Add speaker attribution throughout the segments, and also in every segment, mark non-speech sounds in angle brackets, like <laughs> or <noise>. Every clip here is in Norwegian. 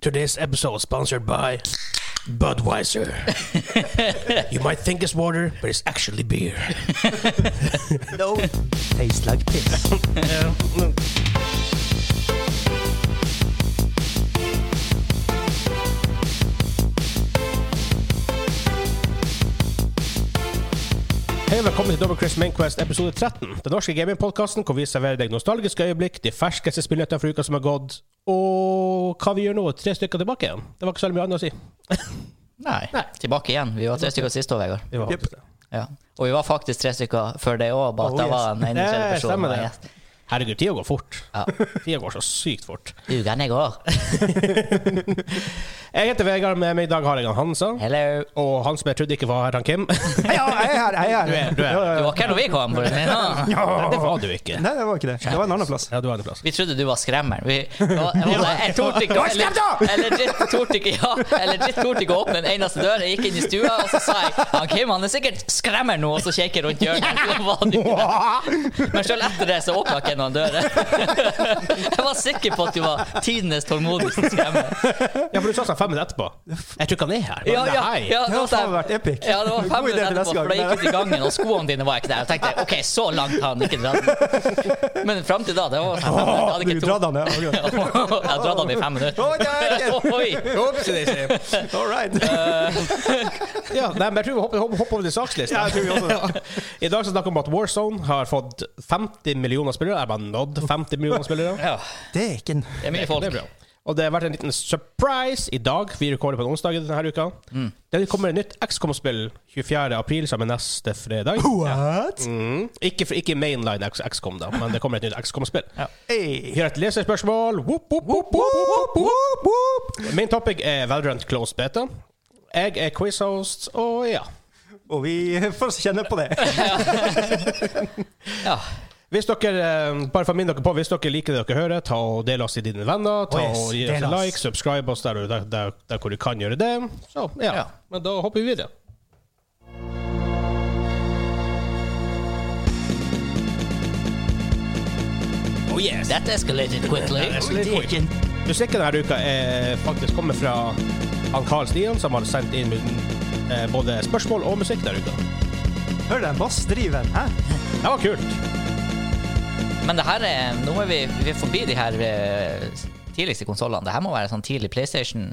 Speaker 1: Today's episode is sponsored by
Speaker 2: <laughs>
Speaker 1: Budweiser. you might think it's water, but it's actually beer.
Speaker 2: No, tastes like piss.
Speaker 1: Hei og velkommen til Double Chris Mainquest episode 13. Den norske gamingpodkasten hvor vi serverer deg nostalgiske øyeblikk, de ferskeste spillnyhetene fra uka som har gått, og hva vi gjør nå, tre stykker tilbake igjen. Det var ikke så veldig mye annet å si.
Speaker 2: <laughs> Nei. Tilbake igjen. Vi var tre stykker sist år, Vegard.
Speaker 1: Det var faktisk det.
Speaker 2: Ja. Og vi var faktisk tre stykker før det òg, bare at
Speaker 1: Oh,
Speaker 2: det
Speaker 1: yes.
Speaker 2: var en
Speaker 1: <laughs>
Speaker 2: ene
Speaker 1: Ja,
Speaker 2: tredje person.
Speaker 1: stemmer
Speaker 2: var
Speaker 1: det.
Speaker 2: gjest.
Speaker 1: Herregud, tida går fort.
Speaker 2: Ja.
Speaker 1: Tida går så sykt fort.
Speaker 2: Ugerne går.
Speaker 1: Jeg heter Vegard, med meg i dag har jeg han Hansa.
Speaker 2: Hello.
Speaker 1: Og han som jeg trodde ikke var her, han Kim. du
Speaker 3: Ja, jeg er her, jeg er her.
Speaker 1: er, du er.
Speaker 2: Du var ikke her når vi kom. for å si <laughs> det sånn.
Speaker 1: Nei, <laughs> det var du ikke.
Speaker 3: Nei, det var ikke det. Det var en annen plass.
Speaker 1: Ja, du var en plass.
Speaker 2: Vi trodde du var skremmeren. Vi, jeg var- jeg var- jeg torde ikke
Speaker 3: Hva er skrem da?
Speaker 2: Jeg legit torde ikke ja, jeg legit torde ikke å åpne en eneste dør. Jeg gikk inn i stua, og så sa jeg han Kim han er sikkert skremmer nå, og så kikker jeg rundt hjørnet. Så var han ikke der. Men sjøl etter det så åpna ikke noen dører. <laughs> Jeg var sikker på at du var tidenes tålmodigste skremmer.
Speaker 1: Ja, for du sa sånn fem minutter etterpå. Jeg tror ikke han er her.
Speaker 2: Ja,
Speaker 1: Men
Speaker 2: ja,
Speaker 1: hei.
Speaker 2: ja,
Speaker 3: Det
Speaker 2: da
Speaker 3: hadde
Speaker 2: sa jeg-
Speaker 3: faen vært epic.
Speaker 2: Ja, det var fem
Speaker 3: God idé
Speaker 2: minutter
Speaker 3: til
Speaker 2: etterpå,
Speaker 3: neste
Speaker 2: for da
Speaker 3: gang.
Speaker 2: gikk jeg ut i gangen, og skoene dine var ikke der. Jeg
Speaker 3: <laughs>
Speaker 2: tenkte OK, så langt har han ikke dratt den. Men fram til da, det var sånn fem minutter. Jeg
Speaker 3: Åh,
Speaker 2: hadde
Speaker 3: du
Speaker 2: ikke to.
Speaker 3: dratt han, ja.
Speaker 2: <laughs> Jeg har dratt den i fem
Speaker 3: Å,
Speaker 2: minutter.
Speaker 3: dæken!
Speaker 2: <laughs> Oi.
Speaker 3: Ok. All right.
Speaker 1: Ja, nei, men jeg tror vi hopper, hopper, hopper over til sakslista.
Speaker 3: Ja, jeg tror vi også det.
Speaker 1: <laughs> I dag så snakker vi om at Warzone har fått 50 millioner spillere. Er bare nådd 50 millioner
Speaker 3: <laughs>
Speaker 1: spillere.
Speaker 2: Ja,
Speaker 3: Deken.
Speaker 2: det er mye
Speaker 1: Det er
Speaker 2: folk.
Speaker 1: bra. Og det har vært en liten surprise i dag. Vi rekorder på en onsdag denne uka.
Speaker 3: Mm.
Speaker 1: Det kommer et nytt XCOM-spill 24. april, som er neste fredag.
Speaker 3: What?
Speaker 1: Mm. Ikke, for, ikke mainline X- XCOM, da, men det kommer et nytt XCOM-spill. Vi
Speaker 3: Hey.
Speaker 1: har et leserspørsmål. Whoop, whoop, whoop, whoop, whoop, whoop, whoop. Min topic er Valorant Close Beta. Jeg er quizhost, og ja.
Speaker 3: Og vi får kjenne på det.
Speaker 2: Ja.
Speaker 1: Hvis dere, eh, bare for å minne dere på, hvis dere liker det dere hører, ta og del oss til dine venner. Ta
Speaker 3: Oh, yes,
Speaker 1: og Gi oss
Speaker 3: del
Speaker 1: en
Speaker 3: oss.
Speaker 1: like, subscribe oss der, der, der, der hvor du kan gjøre det. Så, ja.
Speaker 2: Ja.
Speaker 1: Men da hopper vi videre. Oh yes!
Speaker 2: That escalated quickly.
Speaker 1: Deken. Musikken denne uka er faktisk kommet fra han Carl Stian, som har sendt inn eh, både spørsmål og musikk denne uka.
Speaker 3: Hør den bassdriven. Hæ?
Speaker 1: Det var kult.
Speaker 2: Men det her er Nå er vi, vi er forbi de her eh, tidligste konsollene. Det her må være sånn tidlig PlayStation.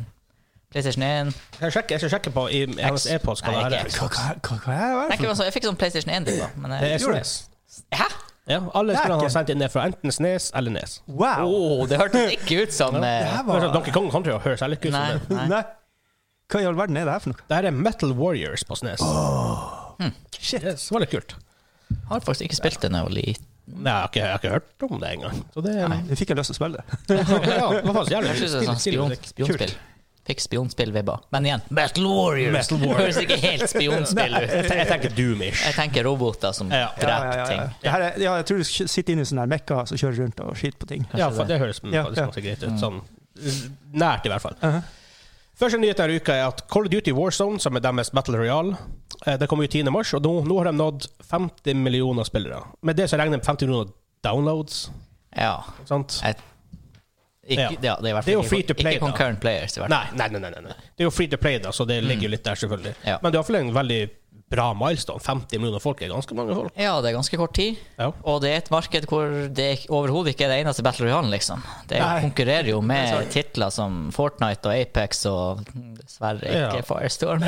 Speaker 2: PlayStation 1.
Speaker 1: Jeg skal sjekke, jeg skal sjekke på i hennes e-post hva
Speaker 2: Nei,
Speaker 1: det her er.
Speaker 2: ikke X.
Speaker 3: Hva- hva- hva- Hva er
Speaker 2: Jeg,
Speaker 3: det?
Speaker 2: tenker, altså, jeg fikk sånn PlayStation 1 til, da. Men
Speaker 1: Det
Speaker 2: jeg,
Speaker 1: er SNES.
Speaker 2: hæ?
Speaker 1: Ja, alle spillene han
Speaker 3: Dæken.
Speaker 1: har sendt inn, er fra enten Snes eller Nes.
Speaker 2: Å,
Speaker 3: Wow.
Speaker 2: det hørtes ikke ut som eh,
Speaker 3: Det her
Speaker 1: Det er
Speaker 3: var
Speaker 1: sånn Donkey Kong Country hører seg litt ut
Speaker 2: Nei.
Speaker 1: som det.
Speaker 2: nei.
Speaker 3: Nei. Hva i all verden er det her for noe?
Speaker 1: Det her er Metal Warriors på Snes. Hm.
Speaker 3: Shit.
Speaker 1: Yes, det var litt kult.
Speaker 2: Har faktisk ikke spilt det da jeg var liten.
Speaker 1: Nei, jeg har ikke, jeg har ikke hørt om det engang. Så det <laughs> ja,
Speaker 3: Nå fikk jeg lyst til å spille det.
Speaker 1: det var faktisk jævlig
Speaker 2: Jeg synes det er
Speaker 1: stilig-
Speaker 2: sånn
Speaker 1: stilig
Speaker 2: spion,
Speaker 1: musikk.
Speaker 2: spionspill. Fikk spionspill-vibber. Men igjen, Metal Warriors!
Speaker 1: Metal
Speaker 2: Høres ikke helt <laughs> spionspill ut.
Speaker 1: Jeg, te- jeg tenker Doom-ish.
Speaker 2: Jeg tenker roboter som
Speaker 1: Ja.
Speaker 2: dreper
Speaker 3: Ja, ja, ja, ja.
Speaker 2: ting.
Speaker 3: Det her er, ja, jeg tror du sitter inne i sånn her mekka som kjører rundt og skyter på ting.
Speaker 1: Ja, for det høres
Speaker 3: Ja,
Speaker 1: faktisk
Speaker 3: ja. Uh-huh.
Speaker 1: ganske greit
Speaker 2: Mm.
Speaker 1: ut. Sånn nært, i hvert fall. Første nyhet denne uka er at Call of Duty Warzone, som er deres Battle Royale, eh, det kommer ut 10. mars, og nå, nå har de nådd 50 millioner spillere. Med det så regner jeg med 50 millioner downloads.
Speaker 2: Ja.
Speaker 1: Sant?
Speaker 2: Jeg, ikke,
Speaker 1: Ja.
Speaker 2: ja. det er i hvert
Speaker 1: Det er
Speaker 2: fall
Speaker 1: jo free to
Speaker 2: ikke,
Speaker 1: play,
Speaker 2: ikke
Speaker 1: da.
Speaker 2: concurrent players. I hvert fall.
Speaker 1: Nei, nei, nei, nei, nei. Det er jo free to play, da, så det ligger jo litt der, selvfølgelig.
Speaker 2: Mm. Ja.
Speaker 1: Men det er iallfall en veldig bra milestone. 50 millioner folk er ganske mange folk.
Speaker 2: Ja, det er ganske kort tid,
Speaker 1: Ja.
Speaker 2: og det er et marked hvor det ikke- overhodet ikke er det eneste Battle Royale, liksom. Det er,
Speaker 3: Nei.
Speaker 2: konkurrerer jo med titler som Fortnite og Apex og dessverre ikke
Speaker 1: Ja. <laughs>
Speaker 2: Firestorm.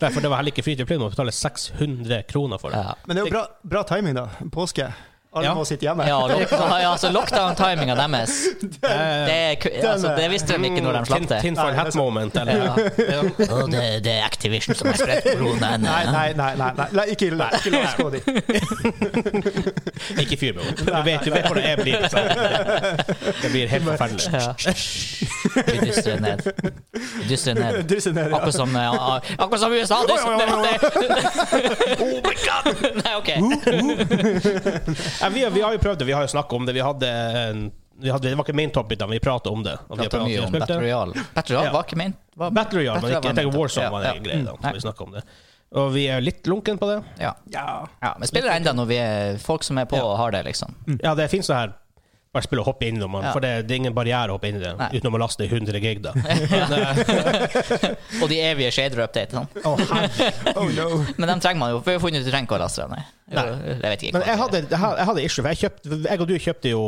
Speaker 1: Derfor det var heller ikke free to play, du må betale 600 kroner for det.
Speaker 2: Ja.
Speaker 3: Men det er jo bra, bra timing, da. Påske. Alle
Speaker 1: Ja.
Speaker 3: må sitte hjemme.
Speaker 2: Ja,
Speaker 1: <laughs>
Speaker 2: lock, ja, altså lockdown-timinga deres det, er ku- altså, det visste de ikke når de slapp det.
Speaker 1: Tinfoil hat moment, eller?
Speaker 2: Ja. Og det, det er Activision som har spredt koronaen.
Speaker 3: Nei, nei, nei, nei, nei. nei ikke la ikke la oss gå <laughs> dit.
Speaker 1: Ikke fyr med
Speaker 2: <laughs>
Speaker 1: henne. Du vet, du vet hvordan jeg blir. Så. Det blir helt forferdelig.
Speaker 2: Ja. Vi dystrer ned. Dystrer ned.
Speaker 3: Drysse ned, ja.
Speaker 2: Akkurat som, eh, a- akkurat som USA! Dystrer ned. <laughs>
Speaker 1: Oh my god!
Speaker 2: Nei, OK.
Speaker 1: Ja, vi, har- vi har jo prøvd det, vi har jo snakket om det. Vi hadde en vi hadde, det var ikke main topic, da, men vi pratet om det. Og vi har
Speaker 2: Prata mye
Speaker 1: spilt
Speaker 2: om
Speaker 1: det.
Speaker 2: Battle Royale. Battle Royale
Speaker 1: Ja.
Speaker 2: var ikke min. Var
Speaker 1: Battle Royale, men ikke,
Speaker 2: Battle
Speaker 1: jeg
Speaker 2: Royale
Speaker 1: tenker
Speaker 2: var
Speaker 1: Warzone
Speaker 2: min.
Speaker 1: var
Speaker 2: Ja, Mm.
Speaker 1: en greie, da.
Speaker 2: Nei.
Speaker 1: Vi snakket om det. Og vi er jo litt lunken på det.
Speaker 2: Ja.
Speaker 3: Ja.
Speaker 2: ja. Men spiller enda når vi er folk som er på og har det, liksom.
Speaker 1: Ja, det finnes sånne her Bare spille og hoppe innom den,
Speaker 2: Ja.
Speaker 1: for det, det er ingen barriere å hoppe inn i den,
Speaker 2: Nei.
Speaker 1: utenom å laste 100 gig,
Speaker 2: <laughs>
Speaker 1: da.
Speaker 2: Og de evige shader-updatene.
Speaker 1: Å, herre.
Speaker 3: Oh no.
Speaker 2: Men dem trenger man jo. for Vi har funnet ut at du trenger ikke å laste dem. Nei. Jo, Jeg vet ikke.
Speaker 1: Men jeg
Speaker 2: hva-
Speaker 1: hadde, jeg hadde- jeg hadde issue, for jeg, kjøpte, jeg og du kjøpte jo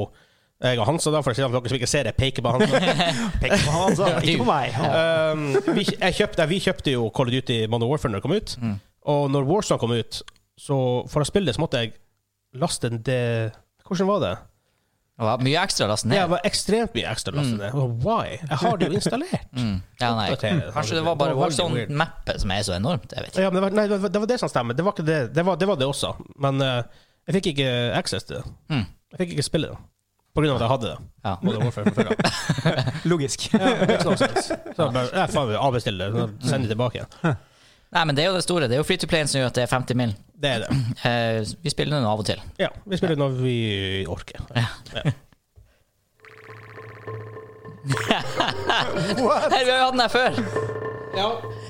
Speaker 1: jeg og Hansa, da, for å si det, for dere som ikke ser det, altså. peker
Speaker 2: <laughs>
Speaker 1: på Hansa.
Speaker 3: Pek på han, sa. Ikke på meg.
Speaker 1: Um, vi, jeg kjøpte, vi kjøpte jo Call of Duty Modern Warfare når det kom ut.
Speaker 2: Mm.
Speaker 1: Og når Warzone kom ut, så for å spille det, så måtte jeg laste en det Hvordan var det?
Speaker 2: Det var mye ekstra å laste ned.
Speaker 1: Det var ekstremt mye ekstra laste ned. Og Why? Jeg har det jo installert.
Speaker 2: Mm. Ja, nei.
Speaker 1: Oppdatere.
Speaker 2: Kanskje det var bare
Speaker 1: Det var veldig weird.
Speaker 2: Warzone-mappet som er så enormt. Jeg vet ikke.
Speaker 1: Ja, men det var, nei, det var- det var det som stemmer. Det var, ikke det, det, var, det, var det også. Men eh, jeg fikk ikke access til det.
Speaker 2: Mm.
Speaker 1: Jeg fikk ikke spille det. På grunn av at jeg hadde det.
Speaker 2: Ja.
Speaker 1: Modern Warfare fra før av.
Speaker 3: Logisk.
Speaker 1: Ja, det makes no sense. Så jeg bare, jeg faen vil avbestille det, så send det tilbake igjen.
Speaker 2: Nei, men det er jo det store. Det er jo free to play som gjør at det er 50 mil.
Speaker 1: Det er det.
Speaker 2: Eh, vi spiller den av og til.
Speaker 1: Ja, vi spiller når vi orker.
Speaker 2: Nei, vi har jo hatt den her før!
Speaker 1: Ja,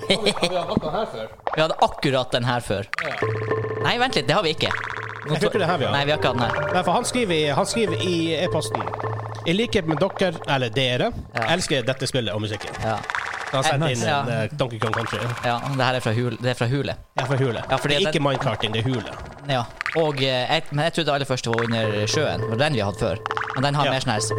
Speaker 1: har vi hatt noe her før?
Speaker 2: Vi hadde akkurat den her før. Nei, vent litt, det har vi ikke. Nå
Speaker 1: Jeg tror ikke det er her vi har.
Speaker 2: Nei, vi har ikke hatt den her.
Speaker 1: Nei, for han skriver, i- han skriver i e-posten I likhet med dere, eller dere,
Speaker 2: Ja.
Speaker 1: elsker dette spillet og musikken.
Speaker 2: Ja.
Speaker 1: Så han sendte inn
Speaker 2: Ja.
Speaker 1: en eh, Donkey Kong Country.
Speaker 2: ja, det her er fra, hul, det er fra hule.
Speaker 1: Ja, for hule.
Speaker 2: Ja, fordi
Speaker 1: det er ikke
Speaker 2: den-
Speaker 1: minecarting, det er hule.
Speaker 2: Ja. Og, eh, jeg, men jeg trodde aller først det var under sjøen. Det var den vi hadde før. Men den har
Speaker 1: Ja.
Speaker 2: mer sånn her s-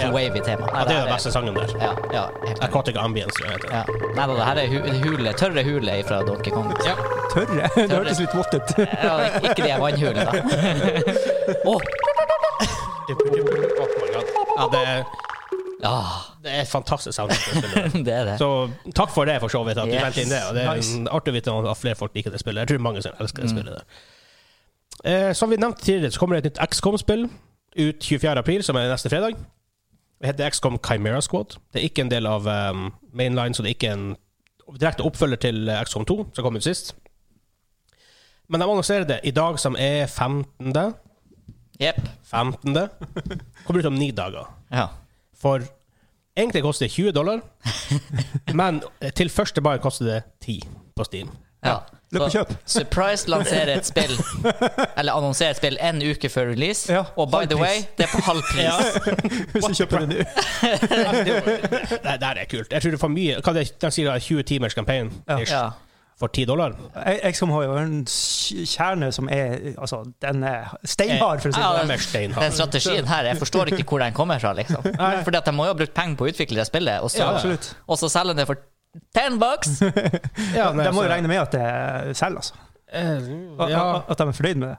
Speaker 1: Ja.
Speaker 2: wavy tema. Nei,
Speaker 1: Ja, det er
Speaker 2: her
Speaker 1: den beste sangen der.
Speaker 2: Ja, ja, helt klart.
Speaker 1: Aquatic Ambience, tror jeg det heter.
Speaker 2: Ja. Nei da, det her er hu- hule, tørre hule fra Donkey Kong. Ja.
Speaker 3: Tørre. Det hørtes litt vått ut. <laughs>
Speaker 2: Ja, ikke de her vannhulene, da. Åh!
Speaker 1: Oh my God. Ja, det er,
Speaker 2: Ja,
Speaker 1: det er et fantastisk sound. for spillet.
Speaker 2: det er det.
Speaker 1: Så takk for det, for så vidt. At du
Speaker 2: Yes.
Speaker 1: meldte inn det. Og det er
Speaker 3: Nice.
Speaker 1: mm, artig å vite at flere folk liker det spillet. Jeg tror mange som elsker det spillet. der. Eh, som vi nevnte tidligere, så kommer det et nytt XCOM-spill ut 24. april, som er neste fredag. Det heter XCOM Chimera Squad. Det er ikke en del av um, Mainline, så det er ikke en direkte oppfølger til eh, XCOM 2, som kom ut sist. Men de annonserer det i dag, som er 15.
Speaker 2: Jepp.
Speaker 1: 15. Kommer ut om ni dager.
Speaker 2: Ja.
Speaker 1: For egentlig koster det 20
Speaker 2: <laughs>
Speaker 1: dollar, men til første bar koster det 10 på Steam.
Speaker 2: ja.
Speaker 3: Løp og
Speaker 2: Så
Speaker 3: kjøp. <laughs>
Speaker 2: Surprise lanserer et spill, eller annonserer et spill en uke før release,
Speaker 3: Ja,
Speaker 2: og by
Speaker 3: halv
Speaker 2: the
Speaker 3: pris.
Speaker 2: way, det er på halv
Speaker 3: <laughs>
Speaker 2: pris.
Speaker 3: Hvis du kjøper det nå.
Speaker 1: Altså, det, var- det der er kult. Jeg tror det er for mye Hva er det de sier, da? 20 timers campaign
Speaker 3: Ja.
Speaker 1: ish,
Speaker 2: Ja.
Speaker 1: for 10 dollar?
Speaker 3: XCOM har jo en kjerne som er Altså, den er steinhard, for å si det
Speaker 2: Ja,
Speaker 3: sånn.
Speaker 1: Det er steinhardt.
Speaker 2: Den strategien her, jeg forstår ikke hvor den kommer fra, liksom. Fordi at de må jo ha brukt penger på å utvikle det spillet, og
Speaker 3: Ja,
Speaker 2: så,
Speaker 3: absolutt.
Speaker 2: og så selger de det for 10 bucks!
Speaker 1: Ja,
Speaker 3: De må jo regne med at det selger, altså.
Speaker 2: Eh,
Speaker 1: med
Speaker 3: At- At at de er fornøyd med det.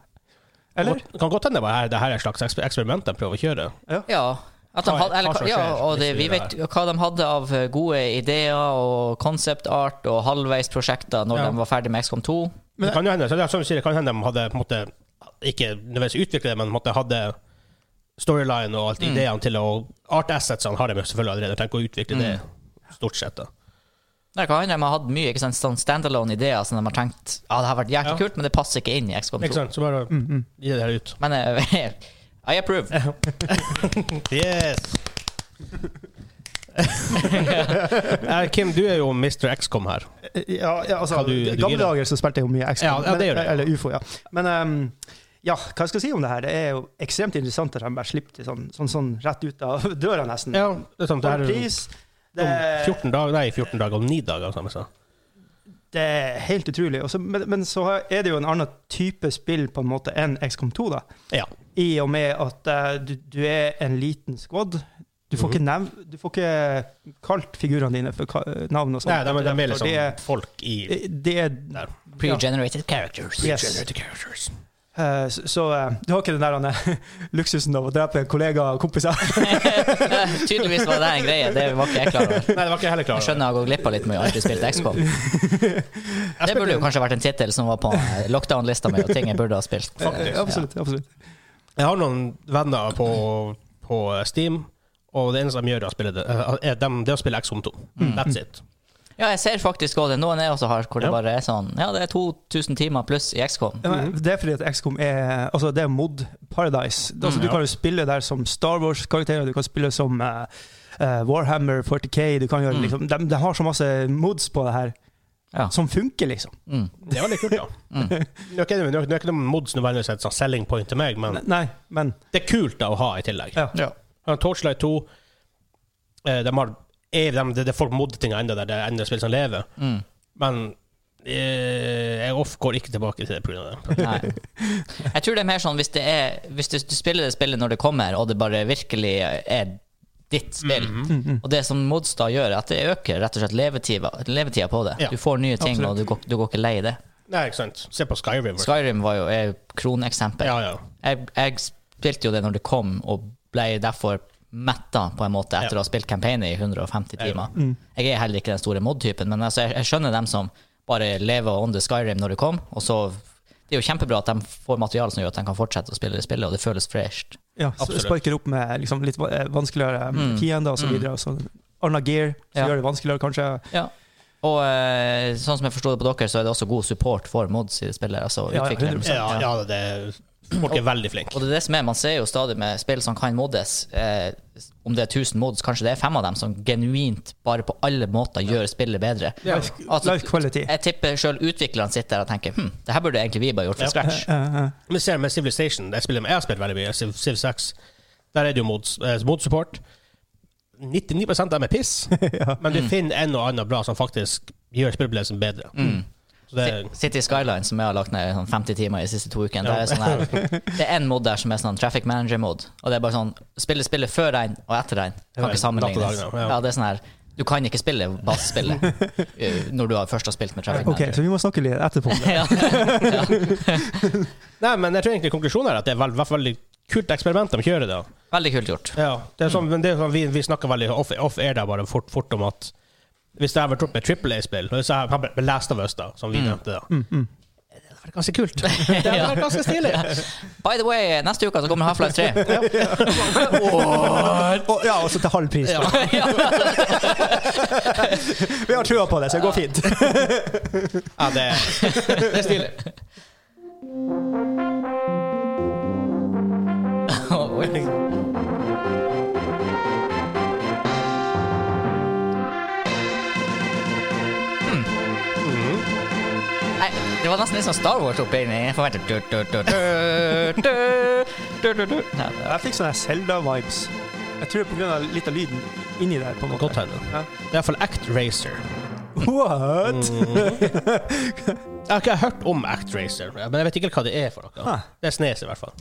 Speaker 3: Eller?
Speaker 1: Det kan godt hende det var her- det her er et slags eksper- eksperiment de prøver å kjøre.
Speaker 2: Ja. At de
Speaker 1: Hva-
Speaker 2: hadde, eller,
Speaker 1: hva som
Speaker 2: ja,
Speaker 1: skjer
Speaker 2: og
Speaker 1: hvis
Speaker 2: det,
Speaker 1: vi
Speaker 2: vi
Speaker 1: gjør
Speaker 2: vet jo hva de hadde av eh, gode ideer og concept art og halvveisprosjekter når
Speaker 1: Ja.
Speaker 2: de var ferdig med XCOM 2.
Speaker 1: det kan jo hende, så det, er som du sier, det kan hende de hadde på en måte, ikke nødvendigvis utviklet det, men på en måte hadde storyline og
Speaker 2: Mm.
Speaker 1: alt ideene til å Art assetsene har de jo selvfølgelig allerede, tenk å utvikle det
Speaker 2: Mm.
Speaker 1: stort sett. da.
Speaker 2: Det kan hende de har hatt mye ikke sant, sånn standalone-ideer som de har tenkt ja, det har vært jæklig
Speaker 1: Ja.
Speaker 2: kult, men det passer ikke inn i XCOM 2.
Speaker 1: Ikke sant? Så bare
Speaker 3: Mm,
Speaker 1: gi det her ut.
Speaker 2: Men eh, <laughs> I approve.
Speaker 1: Yes! Eh, Kim, du er jo Mr. XCOM her.
Speaker 3: Ja, ja altså,
Speaker 1: Hva du-
Speaker 3: I
Speaker 1: du
Speaker 3: gamle
Speaker 1: gir deg.
Speaker 3: dager så spilte jeg jo mye XCOM.
Speaker 1: Ja, ja, det gjør
Speaker 3: men,
Speaker 1: du.
Speaker 3: eller UFO, ja. Men ehm, ja, hva skal jeg si om det her? Det er jo ekstremt interessant at de bare slipper det sånn, sånn, sånn rett ut av <laughs> døra, nesten.
Speaker 1: Ja, det er sant. Det
Speaker 3: Halv
Speaker 1: er
Speaker 3: pris. Det,
Speaker 1: om 14 dager, nei, 14 dager om 9 dager, altså, som jeg sa.
Speaker 3: det er helt utrolig. Og så- men, men så er det jo en annen type spill på en måte enn XCOM2, da.
Speaker 1: Ja.
Speaker 3: I og med at eh, du, du er en liten squad. Du får, ikke
Speaker 1: Mhm.
Speaker 3: nev du får ikke kalt figurene dine for ka- navn og sånt.
Speaker 1: Nei, de, de, er sånn
Speaker 3: For
Speaker 1: liksom
Speaker 3: det er-
Speaker 1: folk i
Speaker 3: det er
Speaker 1: der.
Speaker 2: Pre-generated characters.
Speaker 3: Yes.
Speaker 2: <laughs>
Speaker 1: Generated characters.
Speaker 3: Eh, Så så, eh, du har ikke den der Anne, <laughs> luksusen av å drepe kollegaer og kompiser?
Speaker 2: Tydeligvis var det en greie, det var ikke jeg klar over.
Speaker 1: Nei, det var ikke jeg heller klar
Speaker 2: Jeg
Speaker 1: over.
Speaker 2: skjønner jeg har gått glipp av litt mye, jeg har aldri spilt
Speaker 1: <laughs>
Speaker 2: XCOM. Det burde jo kanskje vært en tittel som var på eh, lockdown-lista mi, og ting jeg burde ha spilt.
Speaker 1: Faktisk.
Speaker 3: Eh, <laughs> absolutt. absolutt.
Speaker 1: Jeg har noen venner på, på Steam, og det eneste de gjør, er å spille det, eh, er dem- det er å spille XCOM 2. That's it.
Speaker 2: Ja, jeg ser faktisk også det. Noen jeg også har hvor det
Speaker 1: Ja.
Speaker 2: bare er sånn Ja, det er 2000 timer pluss i XCOM.
Speaker 3: Ja, men Mm. Det er fordi at XCOM er altså det er Mod Paradise. Altså, du
Speaker 1: ja.
Speaker 3: kan jo spille der som Star Wars-karakterer, du kan spille som eh, eh, Warhammer 40K du kan gjøre, liksom, de, de har så masse mods på det her.
Speaker 2: Ja.
Speaker 3: som funker, liksom.
Speaker 2: Mm.
Speaker 1: Det er veldig kult, da.
Speaker 2: Mm.
Speaker 1: Nå er ikke, nå er ikke noen mods nødvendigvis et sånn selling point til meg, men
Speaker 3: Ne- Nei, men
Speaker 1: det er kult da å ha i tillegg.
Speaker 3: Ja.
Speaker 2: Ja.
Speaker 1: Ja. Torchlight 2 eh, de har, er, de, det, det er folk modder ting ennå, der det er enda spill som lever.
Speaker 2: Mm.
Speaker 1: Men eh, jeg off går ikke tilbake til det pga.
Speaker 2: <laughs>
Speaker 1: det.
Speaker 2: Nei. Jeg tror det er mer sånn hvis, det er, hvis du, du spiller det spillet når det kommer, og det bare virkelig er ditt spill,
Speaker 1: Mhm.
Speaker 2: og det som mods da gjør, er at det øker rett og slett levetida, levetida på det.
Speaker 1: Ja.
Speaker 2: Du får nye ting,
Speaker 3: Absolutt.
Speaker 2: og du går, du går ikke lei det.
Speaker 1: Nei, ikke sant. Se på Skyrim. for-
Speaker 2: Skyrim var jo et kroneksempel.
Speaker 1: Ja, ja.
Speaker 2: Jeg, jeg spilte jo det når det kom, og ble derfor metta, på en måte, etter
Speaker 1: Ja.
Speaker 2: å ha spilt campaignet i 150 timer.
Speaker 3: mm.
Speaker 2: Jeg er heller ikke den store mod-typen, men altså, jeg, jeg skjønner dem som bare lever og ånder Skyrim når det kom, og så Det er jo kjempebra at de får materiale som gjør at de kan fortsette å spille det spillet, og det føles fresht.
Speaker 3: ja, s-
Speaker 1: Absolutt.
Speaker 3: sparker opp med liksom, litt va- eh, vanskeligere mm. fiender og så videre. og så Anna gear, som
Speaker 2: Ja.
Speaker 3: gjør det vanskeligere, kanskje.
Speaker 2: Ja. Og eh, sånn som jeg forsto det på dere, så er det også god support for mods i spillet. Altså
Speaker 3: Ja, ja,
Speaker 2: utviklere.
Speaker 3: 100%.
Speaker 1: Ja, ja det, folk er veldig flinke.
Speaker 2: Og det er det som er, man ser jo stadig med spill som kan moddes, eh, om det er 1000 mods, kanskje det er fem av dem som genuint bare på alle måter gjør spillet bedre.
Speaker 3: Life,
Speaker 2: Altså,
Speaker 3: life quality.
Speaker 2: Jeg tipper sjøl utviklerne sitter der og tenker hm, det her burde egentlig vi bare gjort fra scratch.
Speaker 3: Eh, eh.
Speaker 1: Men ser med Civilization, jeg, spiller, jeg har spilt veldig mye, Civ, Civ 6, der er det jo mods, eh, mod-support. 99 av dem er piss, men
Speaker 2: Mm.
Speaker 1: du finner en og annen bra som faktisk gjør spillbelevelsen bedre.
Speaker 2: Mm.
Speaker 1: Så det,
Speaker 3: Eh,
Speaker 2: Ci- City Skyline, som jeg har lagt ned sånn 50 timer i de siste to ukene, der er sånn
Speaker 3: <laughs>
Speaker 2: her, det er en mod der som er sånn traffic manager-mod. Og det er bare sånn Spillet spiller før regn og etter regn. Kan
Speaker 1: Ja,
Speaker 2: ikke
Speaker 1: natt
Speaker 2: sammenlignes.
Speaker 1: og dag, ja.
Speaker 2: Ja, det er sånn her Du kan ikke spille
Speaker 3: <laughs>
Speaker 2: basespillet eh, når du har først har spilt med traffic
Speaker 3: Ok,
Speaker 2: manager.
Speaker 3: så vi må snakke litt etterpå. om det.
Speaker 2: Ja. <laughs>
Speaker 1: nei, men jeg tror egentlig konklusjonen er at det er vel- hvert fall veldig kult eksperiment de kjører. da.
Speaker 2: Veldig kult gjort.
Speaker 3: <laughs>
Speaker 1: Ja, det er sånn, men det er sånn, vi, vi snakker veldig off, off air der bare fort, fort om at hvis det hadde vært gjort med Triple A-spill, hvis jeg hadde vært Last of Us, da, som vi nevnte da, det hadde vært ganske <laughs> kult. Det hadde vært ganske stilig.
Speaker 2: By the way, neste uke så kommer Half-Life 3. <laughs>
Speaker 3: Og, ja, og så til halv pris. da. Vi har trua på det, så det går fint.
Speaker 1: Ja, det, det er stilig.
Speaker 2: Oi. Hmm. Nei, det var nesten litt sånn Star Wars oppe inni. Jeg får vente. Du, du, du, du, du, du, du, du. Ja, det-
Speaker 3: Jeg fikk sånne Zelda-vibes. Jeg tror på grunn av litt av lyden inni der. på en
Speaker 1: Godt
Speaker 3: måte.
Speaker 1: hende.
Speaker 3: Ja.
Speaker 1: Det er iallfall Act Racer.
Speaker 3: What?
Speaker 1: Mm. Jeg har ikke hørt om Act Racer, men jeg vet ikke hva det er for noe.
Speaker 3: Ah.
Speaker 1: Det er Snes, i hvert fall.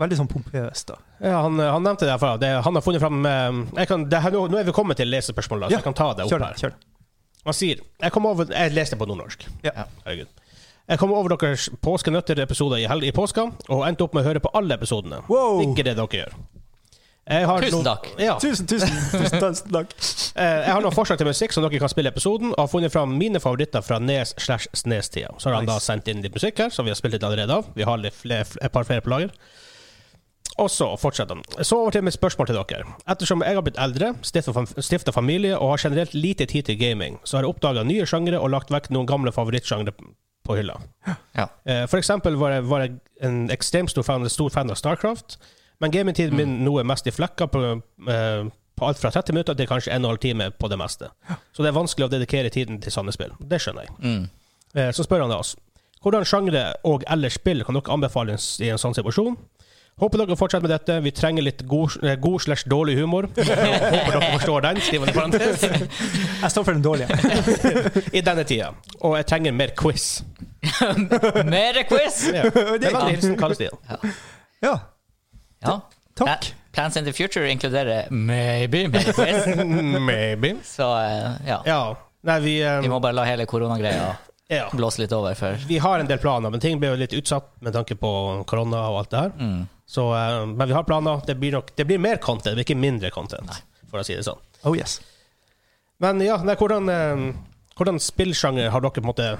Speaker 3: Veldig sånn pompøst, da.
Speaker 1: Ja, han, han nevnte det herfra. Det, han har funnet fram eh, jeg kan, det her, nå, nå er vi kommet til lesespørsmålet, så
Speaker 3: Ja,
Speaker 1: jeg kan ta det opp
Speaker 3: Kjør det.
Speaker 1: her.
Speaker 3: kjør det.
Speaker 1: Han sier Jeg kom over Jeg leste på nordnorsk.
Speaker 3: Ja.
Speaker 1: Herregud. Jeg kom over deres påskenøtter-episoder i, hel- i påska, og endte opp med å høre på alle episodene.
Speaker 3: Wow.
Speaker 1: Ikke det dere gjør. Jeg har
Speaker 2: Tusen
Speaker 1: noen-
Speaker 2: takk.
Speaker 1: Ja.
Speaker 3: Tusen, tusen, tusen, tusen takk.
Speaker 1: Eh, Jeg har noen forslag til musikk som dere kan spille i episoden, og har funnet fram mine favoritter fra Nes slash Snestida. Så har han
Speaker 3: Nice.
Speaker 1: da sendt inn litt musikk her, som vi har spilt litt allerede av. Vi har litt fle- fl- et par flere på lager. Og så fortsetter han. Så over til mitt spørsmål til dere. Ettersom jeg har blitt eldre, stifta familie og har generelt lite tid til gaming, så har jeg oppdaga nye sjangere og lagt vekk noen gamle favorittsjangere på hylla.
Speaker 2: Ja.
Speaker 1: Eh, For eksempel var jeg, var jeg en ekstremt stor fan, stor fan av Starcraft, men gamingtiden min nå er mest i flekker på, eh, på alt fra 30 minutter til kanskje 1 12 time på det meste. Så det er vanskelig å dedikere tiden til sånne spill. Det skjønner jeg.
Speaker 2: Mm. <laughs>
Speaker 1: Eh, Så spør han da oss. Hvordan sjangre og eller spill kan dere anbefale i en sånn situasjon? Håper dere fortsetter med dette. Vi trenger litt god, eh, god slash dårlig humor. <laughs> Håper dere forstår den, skriver han i parentes.
Speaker 3: Jeg står for den <laughs> dårlige.
Speaker 1: I denne tida. Og jeg trenger mer quiz.
Speaker 2: Mer quiz!
Speaker 1: Ja. <laughs> Det
Speaker 3: Det
Speaker 1: var
Speaker 3: er
Speaker 1: Nilsen Kallestien.
Speaker 3: Ja,
Speaker 2: Ja.
Speaker 3: takk.
Speaker 2: Pla- Plans in the future inkluderer maybe mer quiz.
Speaker 1: <laughs> Maybe.
Speaker 2: Så eh, ja.
Speaker 1: Ja. Nei, vi, eh,
Speaker 2: Vi må bare la hele koronagreia
Speaker 1: ja.
Speaker 2: blåse litt over før.
Speaker 1: vi har en del planer, men ting blir jo litt utsatt med tanke på korona og alt det her.
Speaker 2: Mm.
Speaker 1: Så, eh, men vi har planer. Det blir, nok, det blir mer content, men ikke mindre content, for å si det sånn.
Speaker 3: Oh yes.
Speaker 1: Men ja, nei, hvordan, eh, hvordan spillsjanger har dere på en måte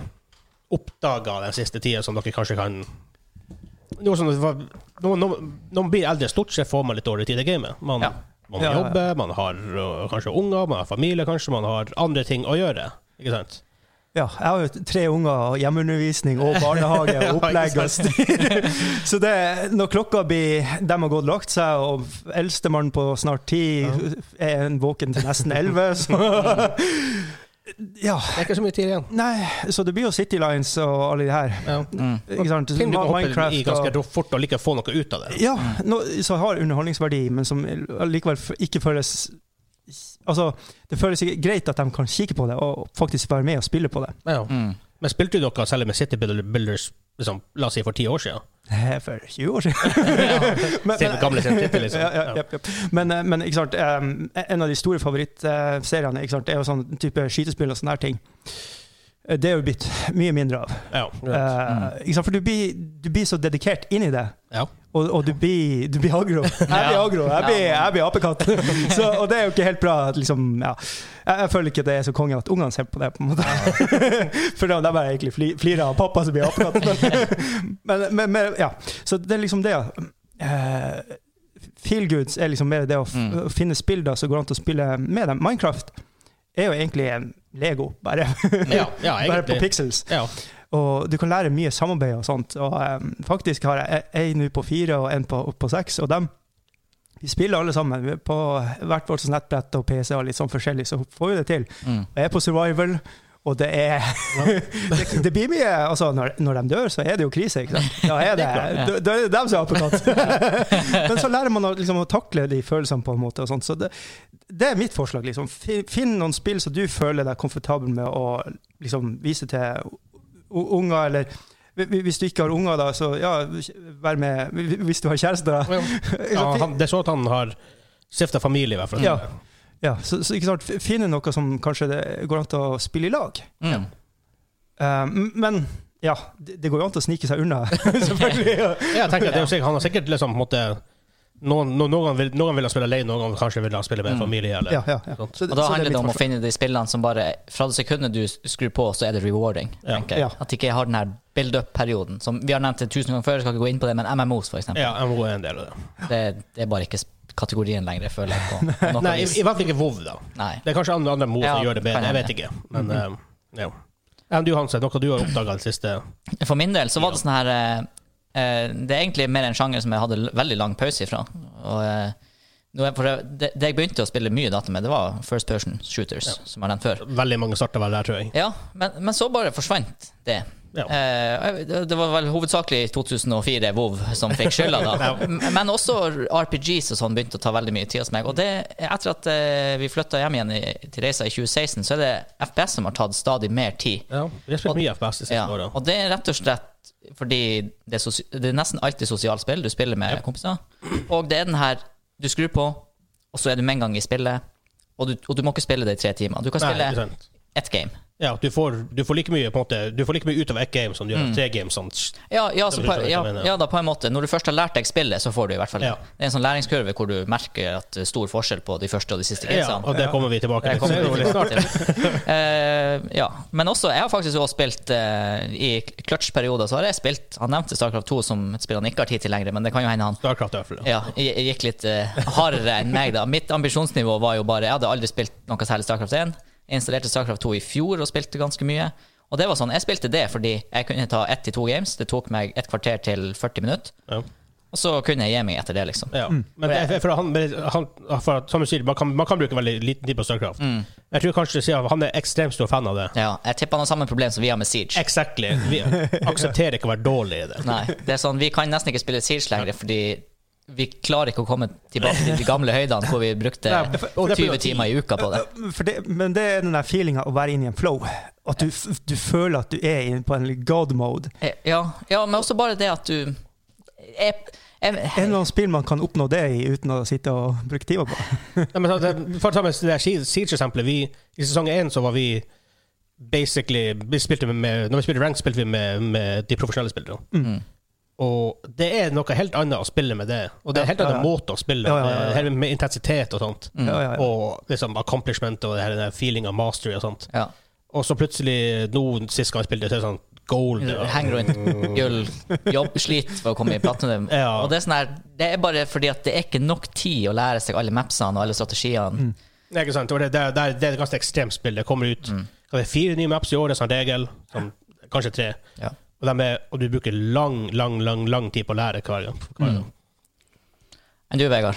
Speaker 1: oppdaga den siste tida, som dere kanskje kan noe som, var- noen, noen, noen blir eldre, stort sett får man litt dårlig tid i gamet. Man,
Speaker 2: Ja.
Speaker 1: man
Speaker 3: Ja, ja, ja.
Speaker 1: jobber, man har øh, kanskje unger, man har familie, kanskje man har andre ting å gjøre. Ikke sant?
Speaker 3: Ja, jeg har jo tre unger og hjemmeundervisning og
Speaker 1: <laughs>
Speaker 3: barnehage og opplegg og styr. <laughs> Så det, når klokka blir De har gått og lagt seg, og
Speaker 1: <laughs>
Speaker 3: eldstemann på snart ti er en våken til nesten elleve, så Ja.
Speaker 1: Det er ikke så mye tid igjen.
Speaker 3: Nei, så det blir jo City Lines og alle de her.
Speaker 1: Ja.
Speaker 2: Mm.
Speaker 3: Ikke sant?
Speaker 1: Film du kan hoppe i
Speaker 3: Minecraft og
Speaker 1: ganske fort og likevel få noe ut av det.
Speaker 3: Ja, no, som har underholdningsverdi, men som likevel f- ikke føles Altså, det føles ikke greit at de kan kikke på det og faktisk være med og spille på det.
Speaker 1: Ja.
Speaker 2: Mm.
Speaker 1: Men spilte dere selv med City Builder- Builders liksom, la oss si for ti år siden?
Speaker 3: Eh, For
Speaker 1: <laughs>
Speaker 3: 20 år siden. <laughs> men,
Speaker 1: Se den gamle sin tittel, liksom.
Speaker 3: <laughs> ja, ja, japp, japp. men, eh, men ikke sant, eh, en av de store favorittseriene ikke sant, er jo sånn type skytespill og sånne her ting. Eh, Det er jo blitt mye mindre av.
Speaker 1: Ja. ja.
Speaker 3: Eh, ikke sant, for du blir, du blir så dedikert inn i det.
Speaker 1: ja.
Speaker 3: Og, og du, blir, du blir agro. Jeg blir
Speaker 2: Ja.
Speaker 3: agro. Jeg blir, jeg blir apekatt. Så, og det er jo ikke helt bra. at Liksom, ja. jeg, jeg føler ikke at det er så konge at ungene ser på det. på en måte. <laughs> For da de bare egentlig fli- flirer av pappa som blir apekatt. Men, men, men, men ja. Så det er liksom det. eh, feel goods er liksom mer det å f
Speaker 2: Mm.
Speaker 3: å finne spill da, som går an til å spille med dem. Minecraft er jo egentlig en Lego, bare,
Speaker 1: ja, ja
Speaker 3: <laughs> bare på
Speaker 1: egentlig.
Speaker 3: pixels.
Speaker 1: Ja.
Speaker 3: Og du kan lære mye samarbeid og sånt. Og em, faktisk har jeg ei nå på fire og en på, på seks, og dem vi spiller alle sammen på hvert vårt sånn nettbrett og PC og litt sånn forskjellig, så får vi det til.
Speaker 2: Mm.
Speaker 3: Jeg er på survival, og det er <laughs> det, det blir mye Altså, når, når de dør, så er det jo krise, ikke sant? Da er <laughs> det, da, da er det dem som er apekatt. <laughs> Men så lærer man å, liksom, å takle de følelsene på en måte, og sånt. Så det, det er mitt forslag, liksom. Finn, finn noen spill som du føler deg komfortabel med å liksom vise til u- unger, eller hvi- hvis du ikke har unger, da, så ja, vær med Hvis du har kjæreste, da.
Speaker 1: Ja, han, det er så at han har stifta familie, i hvert fall.
Speaker 3: Ja. Ja, så, så ikke sant, f- finne noe som kanskje det går an til å spille i lag.
Speaker 2: Mm.
Speaker 3: Eh, m- men ja, det, det går jo an til å snike seg
Speaker 1: <laughs>
Speaker 3: unna, selvfølgelig. Ja.
Speaker 1: Ja, jeg tenker at det er jo sikkert, Han har sikkert liksom på en måte noen, noen, noen, vil, noen vil han spille alene, noen kanskje vil han spille med
Speaker 2: Mm.
Speaker 1: familie. Eller.
Speaker 3: Ja, ja, ja.
Speaker 1: Sånt.
Speaker 3: Så
Speaker 2: Og da
Speaker 3: så
Speaker 2: handler
Speaker 3: er
Speaker 2: det om
Speaker 3: mitt
Speaker 2: å finne de spillene som bare Fra det sekundet du skrur på, så er det rewarding.
Speaker 1: Ja.
Speaker 2: tenker jeg.
Speaker 3: Ja.
Speaker 2: At de ikke har den her build up-perioden. Som Vi har nevnt det tusen ganger før, jeg skal ikke gå inn på det, men MMOs, for eksempel.
Speaker 1: Ja, MMO er en del av det.
Speaker 2: Det, det er bare ikke sp- kategorien lenger, jeg føler jeg. På, på noe
Speaker 1: Nei, i,
Speaker 2: vis.
Speaker 1: i hvert fall ikke WoW, da.
Speaker 2: Nei.
Speaker 1: Det er kanskje andre, andre MMO som
Speaker 2: Ja,
Speaker 1: gjør det bedre,
Speaker 2: kan
Speaker 1: jeg
Speaker 2: hende.
Speaker 1: vet ikke. Men eh, ja. Enn du, Hanse, noe du har oppdaga den siste
Speaker 2: For min del så var det sånn her eh, eh, Det er egentlig mer en sjanger som jeg hadde l- veldig lang pause ifra. Og, eh, nå er- for det, det- det jeg begynte å spille mye data med, det var first person shooters, som jeg har nevnt før.
Speaker 1: Veldig mange starter vel der, tror jeg.
Speaker 2: Ja, men, men så bare forsvant det.
Speaker 1: Ja.
Speaker 2: Eh, det- det var vel hovedsakelig 2004 WoW som fikk skylda da.
Speaker 1: <laughs> Ja.
Speaker 2: M- Men også RPGs og sånn begynte å ta veldig mye tid hos meg. Og det, etter at eh, vi flytta hjem igjen i, til reisa i 2016, så er det FPS som har tatt stadig mer tid.
Speaker 1: Ja, vi har spilt mye FPS de siste
Speaker 2: Ja,
Speaker 1: åra.
Speaker 2: og det er rett og slett fordi det er, sosi det er nesten alltid sosialt spill. Du spiller med kompiser. Og det er den her du skrur på, og så er du med en gang i spillet. Og du, og du må ikke spille det i tre timer. Du kan
Speaker 1: Nei,
Speaker 2: spille
Speaker 1: ikke sant.
Speaker 2: ett game.
Speaker 1: Ja, du får, du får like mye på en måte Du får like mye ut av ett game som du
Speaker 2: Mm.
Speaker 1: gjør av tre games. Sånn.
Speaker 2: Ja, ja, så
Speaker 1: Det
Speaker 2: på,
Speaker 1: blir sånn, jeg
Speaker 2: ja,
Speaker 1: mener.
Speaker 2: ja da, på en måte. Når du først har lært deg spillet, så får du i hvert fall
Speaker 1: Ja.
Speaker 2: Det er en sånn læringskurve hvor du merker at det er stor forskjell på de første og de siste
Speaker 1: Ja,
Speaker 2: gamesene.
Speaker 1: og det kommer vi tilbake til. Så
Speaker 2: Det kommer
Speaker 1: det er jo
Speaker 2: vi
Speaker 1: litt snart.
Speaker 2: tilbake til. <laughs> Eh, ja. Men også, jeg har faktisk også spilt eh, i clutch-perioder, så har jeg spilt Han nevnte Starcraft 2 som et spill han ikke har tid til lenger, men det kan jo hende han
Speaker 1: Starcraft, i hvert fall.
Speaker 2: ja, jeg jeg gikk litt eh, hardere enn meg, da. Mitt ambisjonsnivå var jo bare Jeg hadde aldri spilt noe særlig Starcraft 1. Jeg installerte Starcraft 2 i fjor og spilte ganske mye. Og det var sånn, jeg spilte det fordi jeg kunne ta ett til to games. Det tok meg et kvarter til 40 minutter.
Speaker 1: Ja.
Speaker 2: Og så kunne jeg gi meg etter det, liksom.
Speaker 1: Ja. Men det, er- for han, han for at, som du sier, man kan, man kan bruke veldig liten tid på Starcraft.
Speaker 2: Mm.
Speaker 1: Jeg tror kanskje du sier at han er ekstremt stor fan av det.
Speaker 2: Ja, jeg tipper han har samme problem som vi har med Siege.
Speaker 1: Exactly. Vi aksepterer ikke å være dårlig i det.
Speaker 2: Nei, det er sånn, Vi kan nesten ikke spille Siege lenger fordi vi klarer ikke å komme tilbake til de gamle høydene hvor vi brukte
Speaker 1: Nei, for- og det blir jo
Speaker 2: 20 timer i uka på det.
Speaker 3: For det, men det er den der feelinga å være inne i en flow. At du, f- du føler at du er inne på en god mode.
Speaker 2: Eh, Ja, ja men også bare det at du jeg, jeg,
Speaker 3: En eller annen spill man kan oppnå det i uten å sitte og bruke timer på.
Speaker 1: Nei, men, det- for å ta med det der Siege- Siege-eksempelet vi- I sesong én så var vi basically vi spilte med, Når vi spilte rank, spilte vi med, med de profesjonelle spillerne.
Speaker 3: Mm.
Speaker 1: Og det er noe helt annet å spille med det. Og det er en helt
Speaker 3: Ja, ja,
Speaker 1: annen
Speaker 3: ja.
Speaker 1: måte å spille
Speaker 3: Ja, ja, ja, ja.
Speaker 1: det er med intensitet og sånt.
Speaker 3: Ja, ja, ja.
Speaker 1: Og liksom accomplishment og det her, den der feeling av mastery og sånt.
Speaker 2: ja.
Speaker 1: Og så plutselig, nå sist gang jeg spilte, så er det sånn gold. og-
Speaker 2: Henger rundt gull, jobb, slit for å komme i platinum.
Speaker 1: Ja.
Speaker 2: Og det, er sånn her, det er bare fordi at det er ikke nok tid å lære seg alle mapsene og alle
Speaker 1: Mm.
Speaker 2: strategiene.
Speaker 1: Nei, ikke sant? Og det, det, det, det er et ganske ekstremt spill. Det kommer ut
Speaker 3: Mm.
Speaker 1: hva er det, fire nye maps i året som regel. Som, kanskje tre.
Speaker 2: Ja.
Speaker 1: Og, de er, og du bruker lang, lang, lang lang tid på å lære hver gang. Hver
Speaker 2: Mm.
Speaker 1: gang.
Speaker 2: Enn du, Vegard?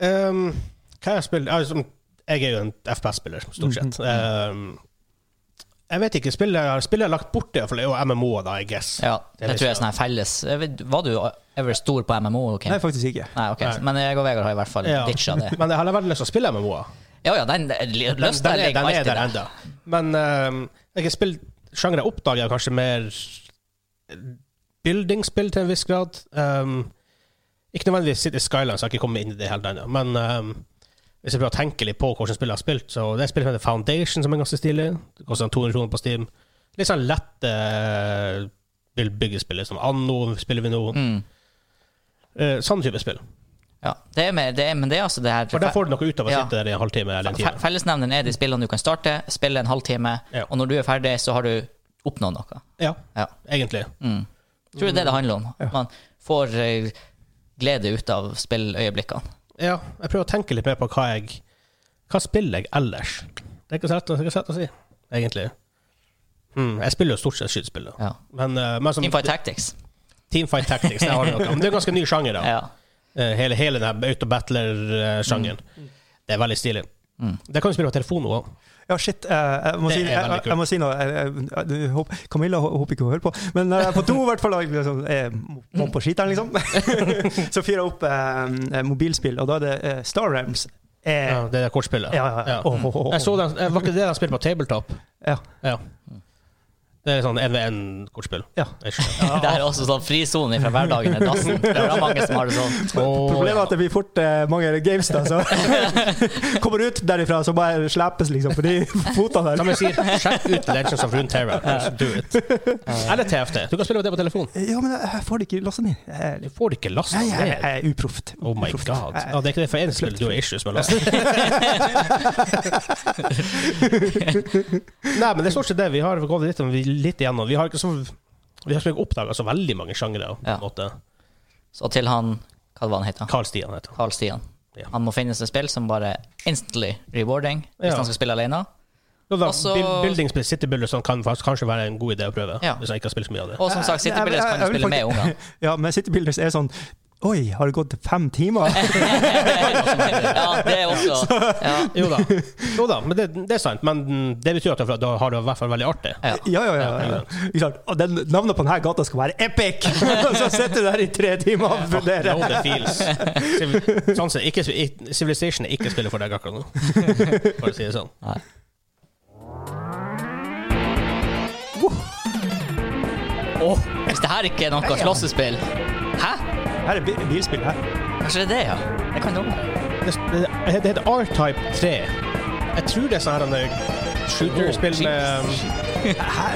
Speaker 1: Ehm, Um, hva har jeg spilt? Jeg, har liksom- Jeg er jo en FPS-spiller, stort sett.
Speaker 2: Mm-hmm.
Speaker 1: Um, jeg vet ikke, spillet jeg har spillet jeg har lagt bort, det, for det er jo MMO-er, da, I guess.
Speaker 2: Ja,
Speaker 1: Det
Speaker 2: det
Speaker 1: visste
Speaker 2: tror jeg
Speaker 1: jeg.
Speaker 2: er sånn her felles jeg vet, Var du ever stor på MMO? Kim?
Speaker 3: Nei, faktisk ikke.
Speaker 2: Nei, ok.
Speaker 1: Nei.
Speaker 2: Men jeg og Vegard har i hvert fall
Speaker 1: Ja.
Speaker 2: ditcha det.
Speaker 1: Men jeg har veldig lyst til å spille MMO-er.
Speaker 2: Ja ja, den
Speaker 1: Den,
Speaker 2: lysta
Speaker 1: den, er-
Speaker 2: ligger
Speaker 1: den er
Speaker 2: alltid
Speaker 1: der
Speaker 2: der.
Speaker 1: ennå. Men um, jeg har spilt sjangre oppdager jeg kanskje mer building-spill til en viss grad. Um, ikke nødvendigvis City Skylines, jeg har ikke kommet inn i det helt ennå. Men um, hvis jeg prøver å tenke litt på hvordan spillet jeg har spilt, så det er et spill som heter Foundation, som er ganske stilig. Det koster sånn 200 kroner på Steam. Litt sånn lette uh, byggespillet, som Anno spiller vi nå.
Speaker 2: Mm.
Speaker 1: Eh, sånn type spill.
Speaker 2: Ja, det er med, det er, men det er altså det her
Speaker 1: For der får du noe ut av å
Speaker 2: Ja.
Speaker 1: sitte der i en halvtime eller en
Speaker 2: Fe-
Speaker 1: time.
Speaker 2: Fellesnevneren er de spillene du kan starte, spille en halvtime,
Speaker 1: Ja.
Speaker 2: og når du er ferdig, så har du oppnådd noe.
Speaker 1: Ja,
Speaker 2: Ja.
Speaker 1: egentlig.
Speaker 2: Mm. Tror det er det det handler om. At man får eh, glede ut av spilløyeblikkene.
Speaker 1: Ja, jeg prøver å tenke litt mer på hva jeg Hva spiller jeg ellers? Det er ikke så lett, å- det er ikke så lett å si, egentlig. Mm, jeg spiller jo stort sett skytespill, da.
Speaker 2: Ja.
Speaker 1: Men, eh, men som,
Speaker 2: Teamfight Tactics.
Speaker 1: Teamfight Tactics, det har du noe.
Speaker 2: <laughs>
Speaker 1: Men det er en ganske ny sjanger, da.
Speaker 2: Ja.
Speaker 1: Eh, hele, hele den autobattler-sjangeren. Det er veldig stilig.
Speaker 2: Mm.
Speaker 1: Det kan du spille på telefon òg.
Speaker 3: Ja, shit. eh, jeg, må
Speaker 1: Det
Speaker 3: si,
Speaker 1: er
Speaker 3: jeg,
Speaker 1: veldig
Speaker 3: jeg,
Speaker 1: kult.
Speaker 3: jeg må si noe. Jeg, jeg, jeg, håper, Camilla hå- håper ikke hun hører på. Men eh, på do, i hvert fall, jeg liksom, eh, må på skiteren, liksom. <laughs> så fyrer jeg opp eh, mobilspill, og da er det eh, Star Realms. Eh,
Speaker 1: Ja, det er kortspillet.
Speaker 3: ja, ja.
Speaker 1: Ja.
Speaker 3: Åh, åh, åh, åh.
Speaker 1: Jeg så den, eh, var ikke det de spilte på tabletop?
Speaker 3: Ja.
Speaker 1: ja.
Speaker 2: Mm.
Speaker 1: Det er sånn NVN-kortspill.
Speaker 3: Ja.
Speaker 2: <laughs> Det her er også sånn frisone fra hverdagen i dassen.
Speaker 3: <laughs>
Speaker 2: Det er <laughs> bra mange som har det sånn.
Speaker 3: Problemet er at det blir fort eh, mange games, da. Så
Speaker 1: <laughs>
Speaker 3: kommer ut derifra, så bare slepes, liksom, fordi fotene
Speaker 1: Som
Speaker 3: der
Speaker 1: jeg sier, sjekk ut Legends of Runeterra. Just Do it. Eller TFT. Du kan spille det på telefon.
Speaker 3: Ja, men jeg jeg får det ikke lasta ned. Jeg,
Speaker 1: Du får det ikke lasta
Speaker 3: jeg, jeg,
Speaker 1: ned.
Speaker 3: jeg er uproft.
Speaker 1: Oh my
Speaker 3: Uproft.
Speaker 1: god.
Speaker 3: Jeg-
Speaker 1: Ja, det er ikke det for en spill du har issues med lasta. <laughs> Nei, men det er stort sett det. Vi har gått litt, litt igjennom. Vi har ikke så vi har ikke oppdaga så veldig mange sjangere. på en
Speaker 2: Ja.
Speaker 1: måte.
Speaker 2: Så til han Hva var han het? han?
Speaker 1: Carl Stian heter han.
Speaker 2: Carl Stian.
Speaker 1: Ja.
Speaker 2: Han må finne seg spill som bare instantly rewarding, hvis
Speaker 1: Ja.
Speaker 2: han skal spille alene.
Speaker 1: Og da,
Speaker 2: Også-
Speaker 1: build- Buildingspill, City Builder, som kan faktisk kanskje være en god idé å prøve.
Speaker 2: Ja.
Speaker 1: Hvis jeg ikke har spilt så mye av det.
Speaker 2: Og som sagt, City
Speaker 3: Jeg- jeg-
Speaker 2: Builders kan
Speaker 3: jeg
Speaker 2: du
Speaker 3: vil
Speaker 2: spille med ungene.
Speaker 3: Ja, men City Builders er sånn Oi, har det gått fem timer?
Speaker 2: <laughs> Ja, det er
Speaker 3: <laughs>
Speaker 2: også ja.
Speaker 1: Jo da, <laughs> jo da men det, det er sant. Men det betyr at da har du i hvert fall veldig artig.
Speaker 2: Ja.
Speaker 3: Ja, ja, ja. ja. Ikke sant? Og den, navnet på denne gata skal være epic! <laughs> så sitter du der i tre timer og
Speaker 1: Know
Speaker 3: vurderer.
Speaker 1: the feels. Siv- Sånn sett, ikke, i- Civilization er ikke spillet for deg akkurat nå. Bare si det sånn.
Speaker 2: Nei. Åh, hvis det her ikke er noe slåssespill Hæ?
Speaker 3: Her er bi- bilspill, her.
Speaker 2: Kanskje det er det, ja? Jeg kan dumme.
Speaker 1: Det, det, det heter R-Type 3. Jeg tror det er sånn her en eh, shooterspill med um, Jeg tror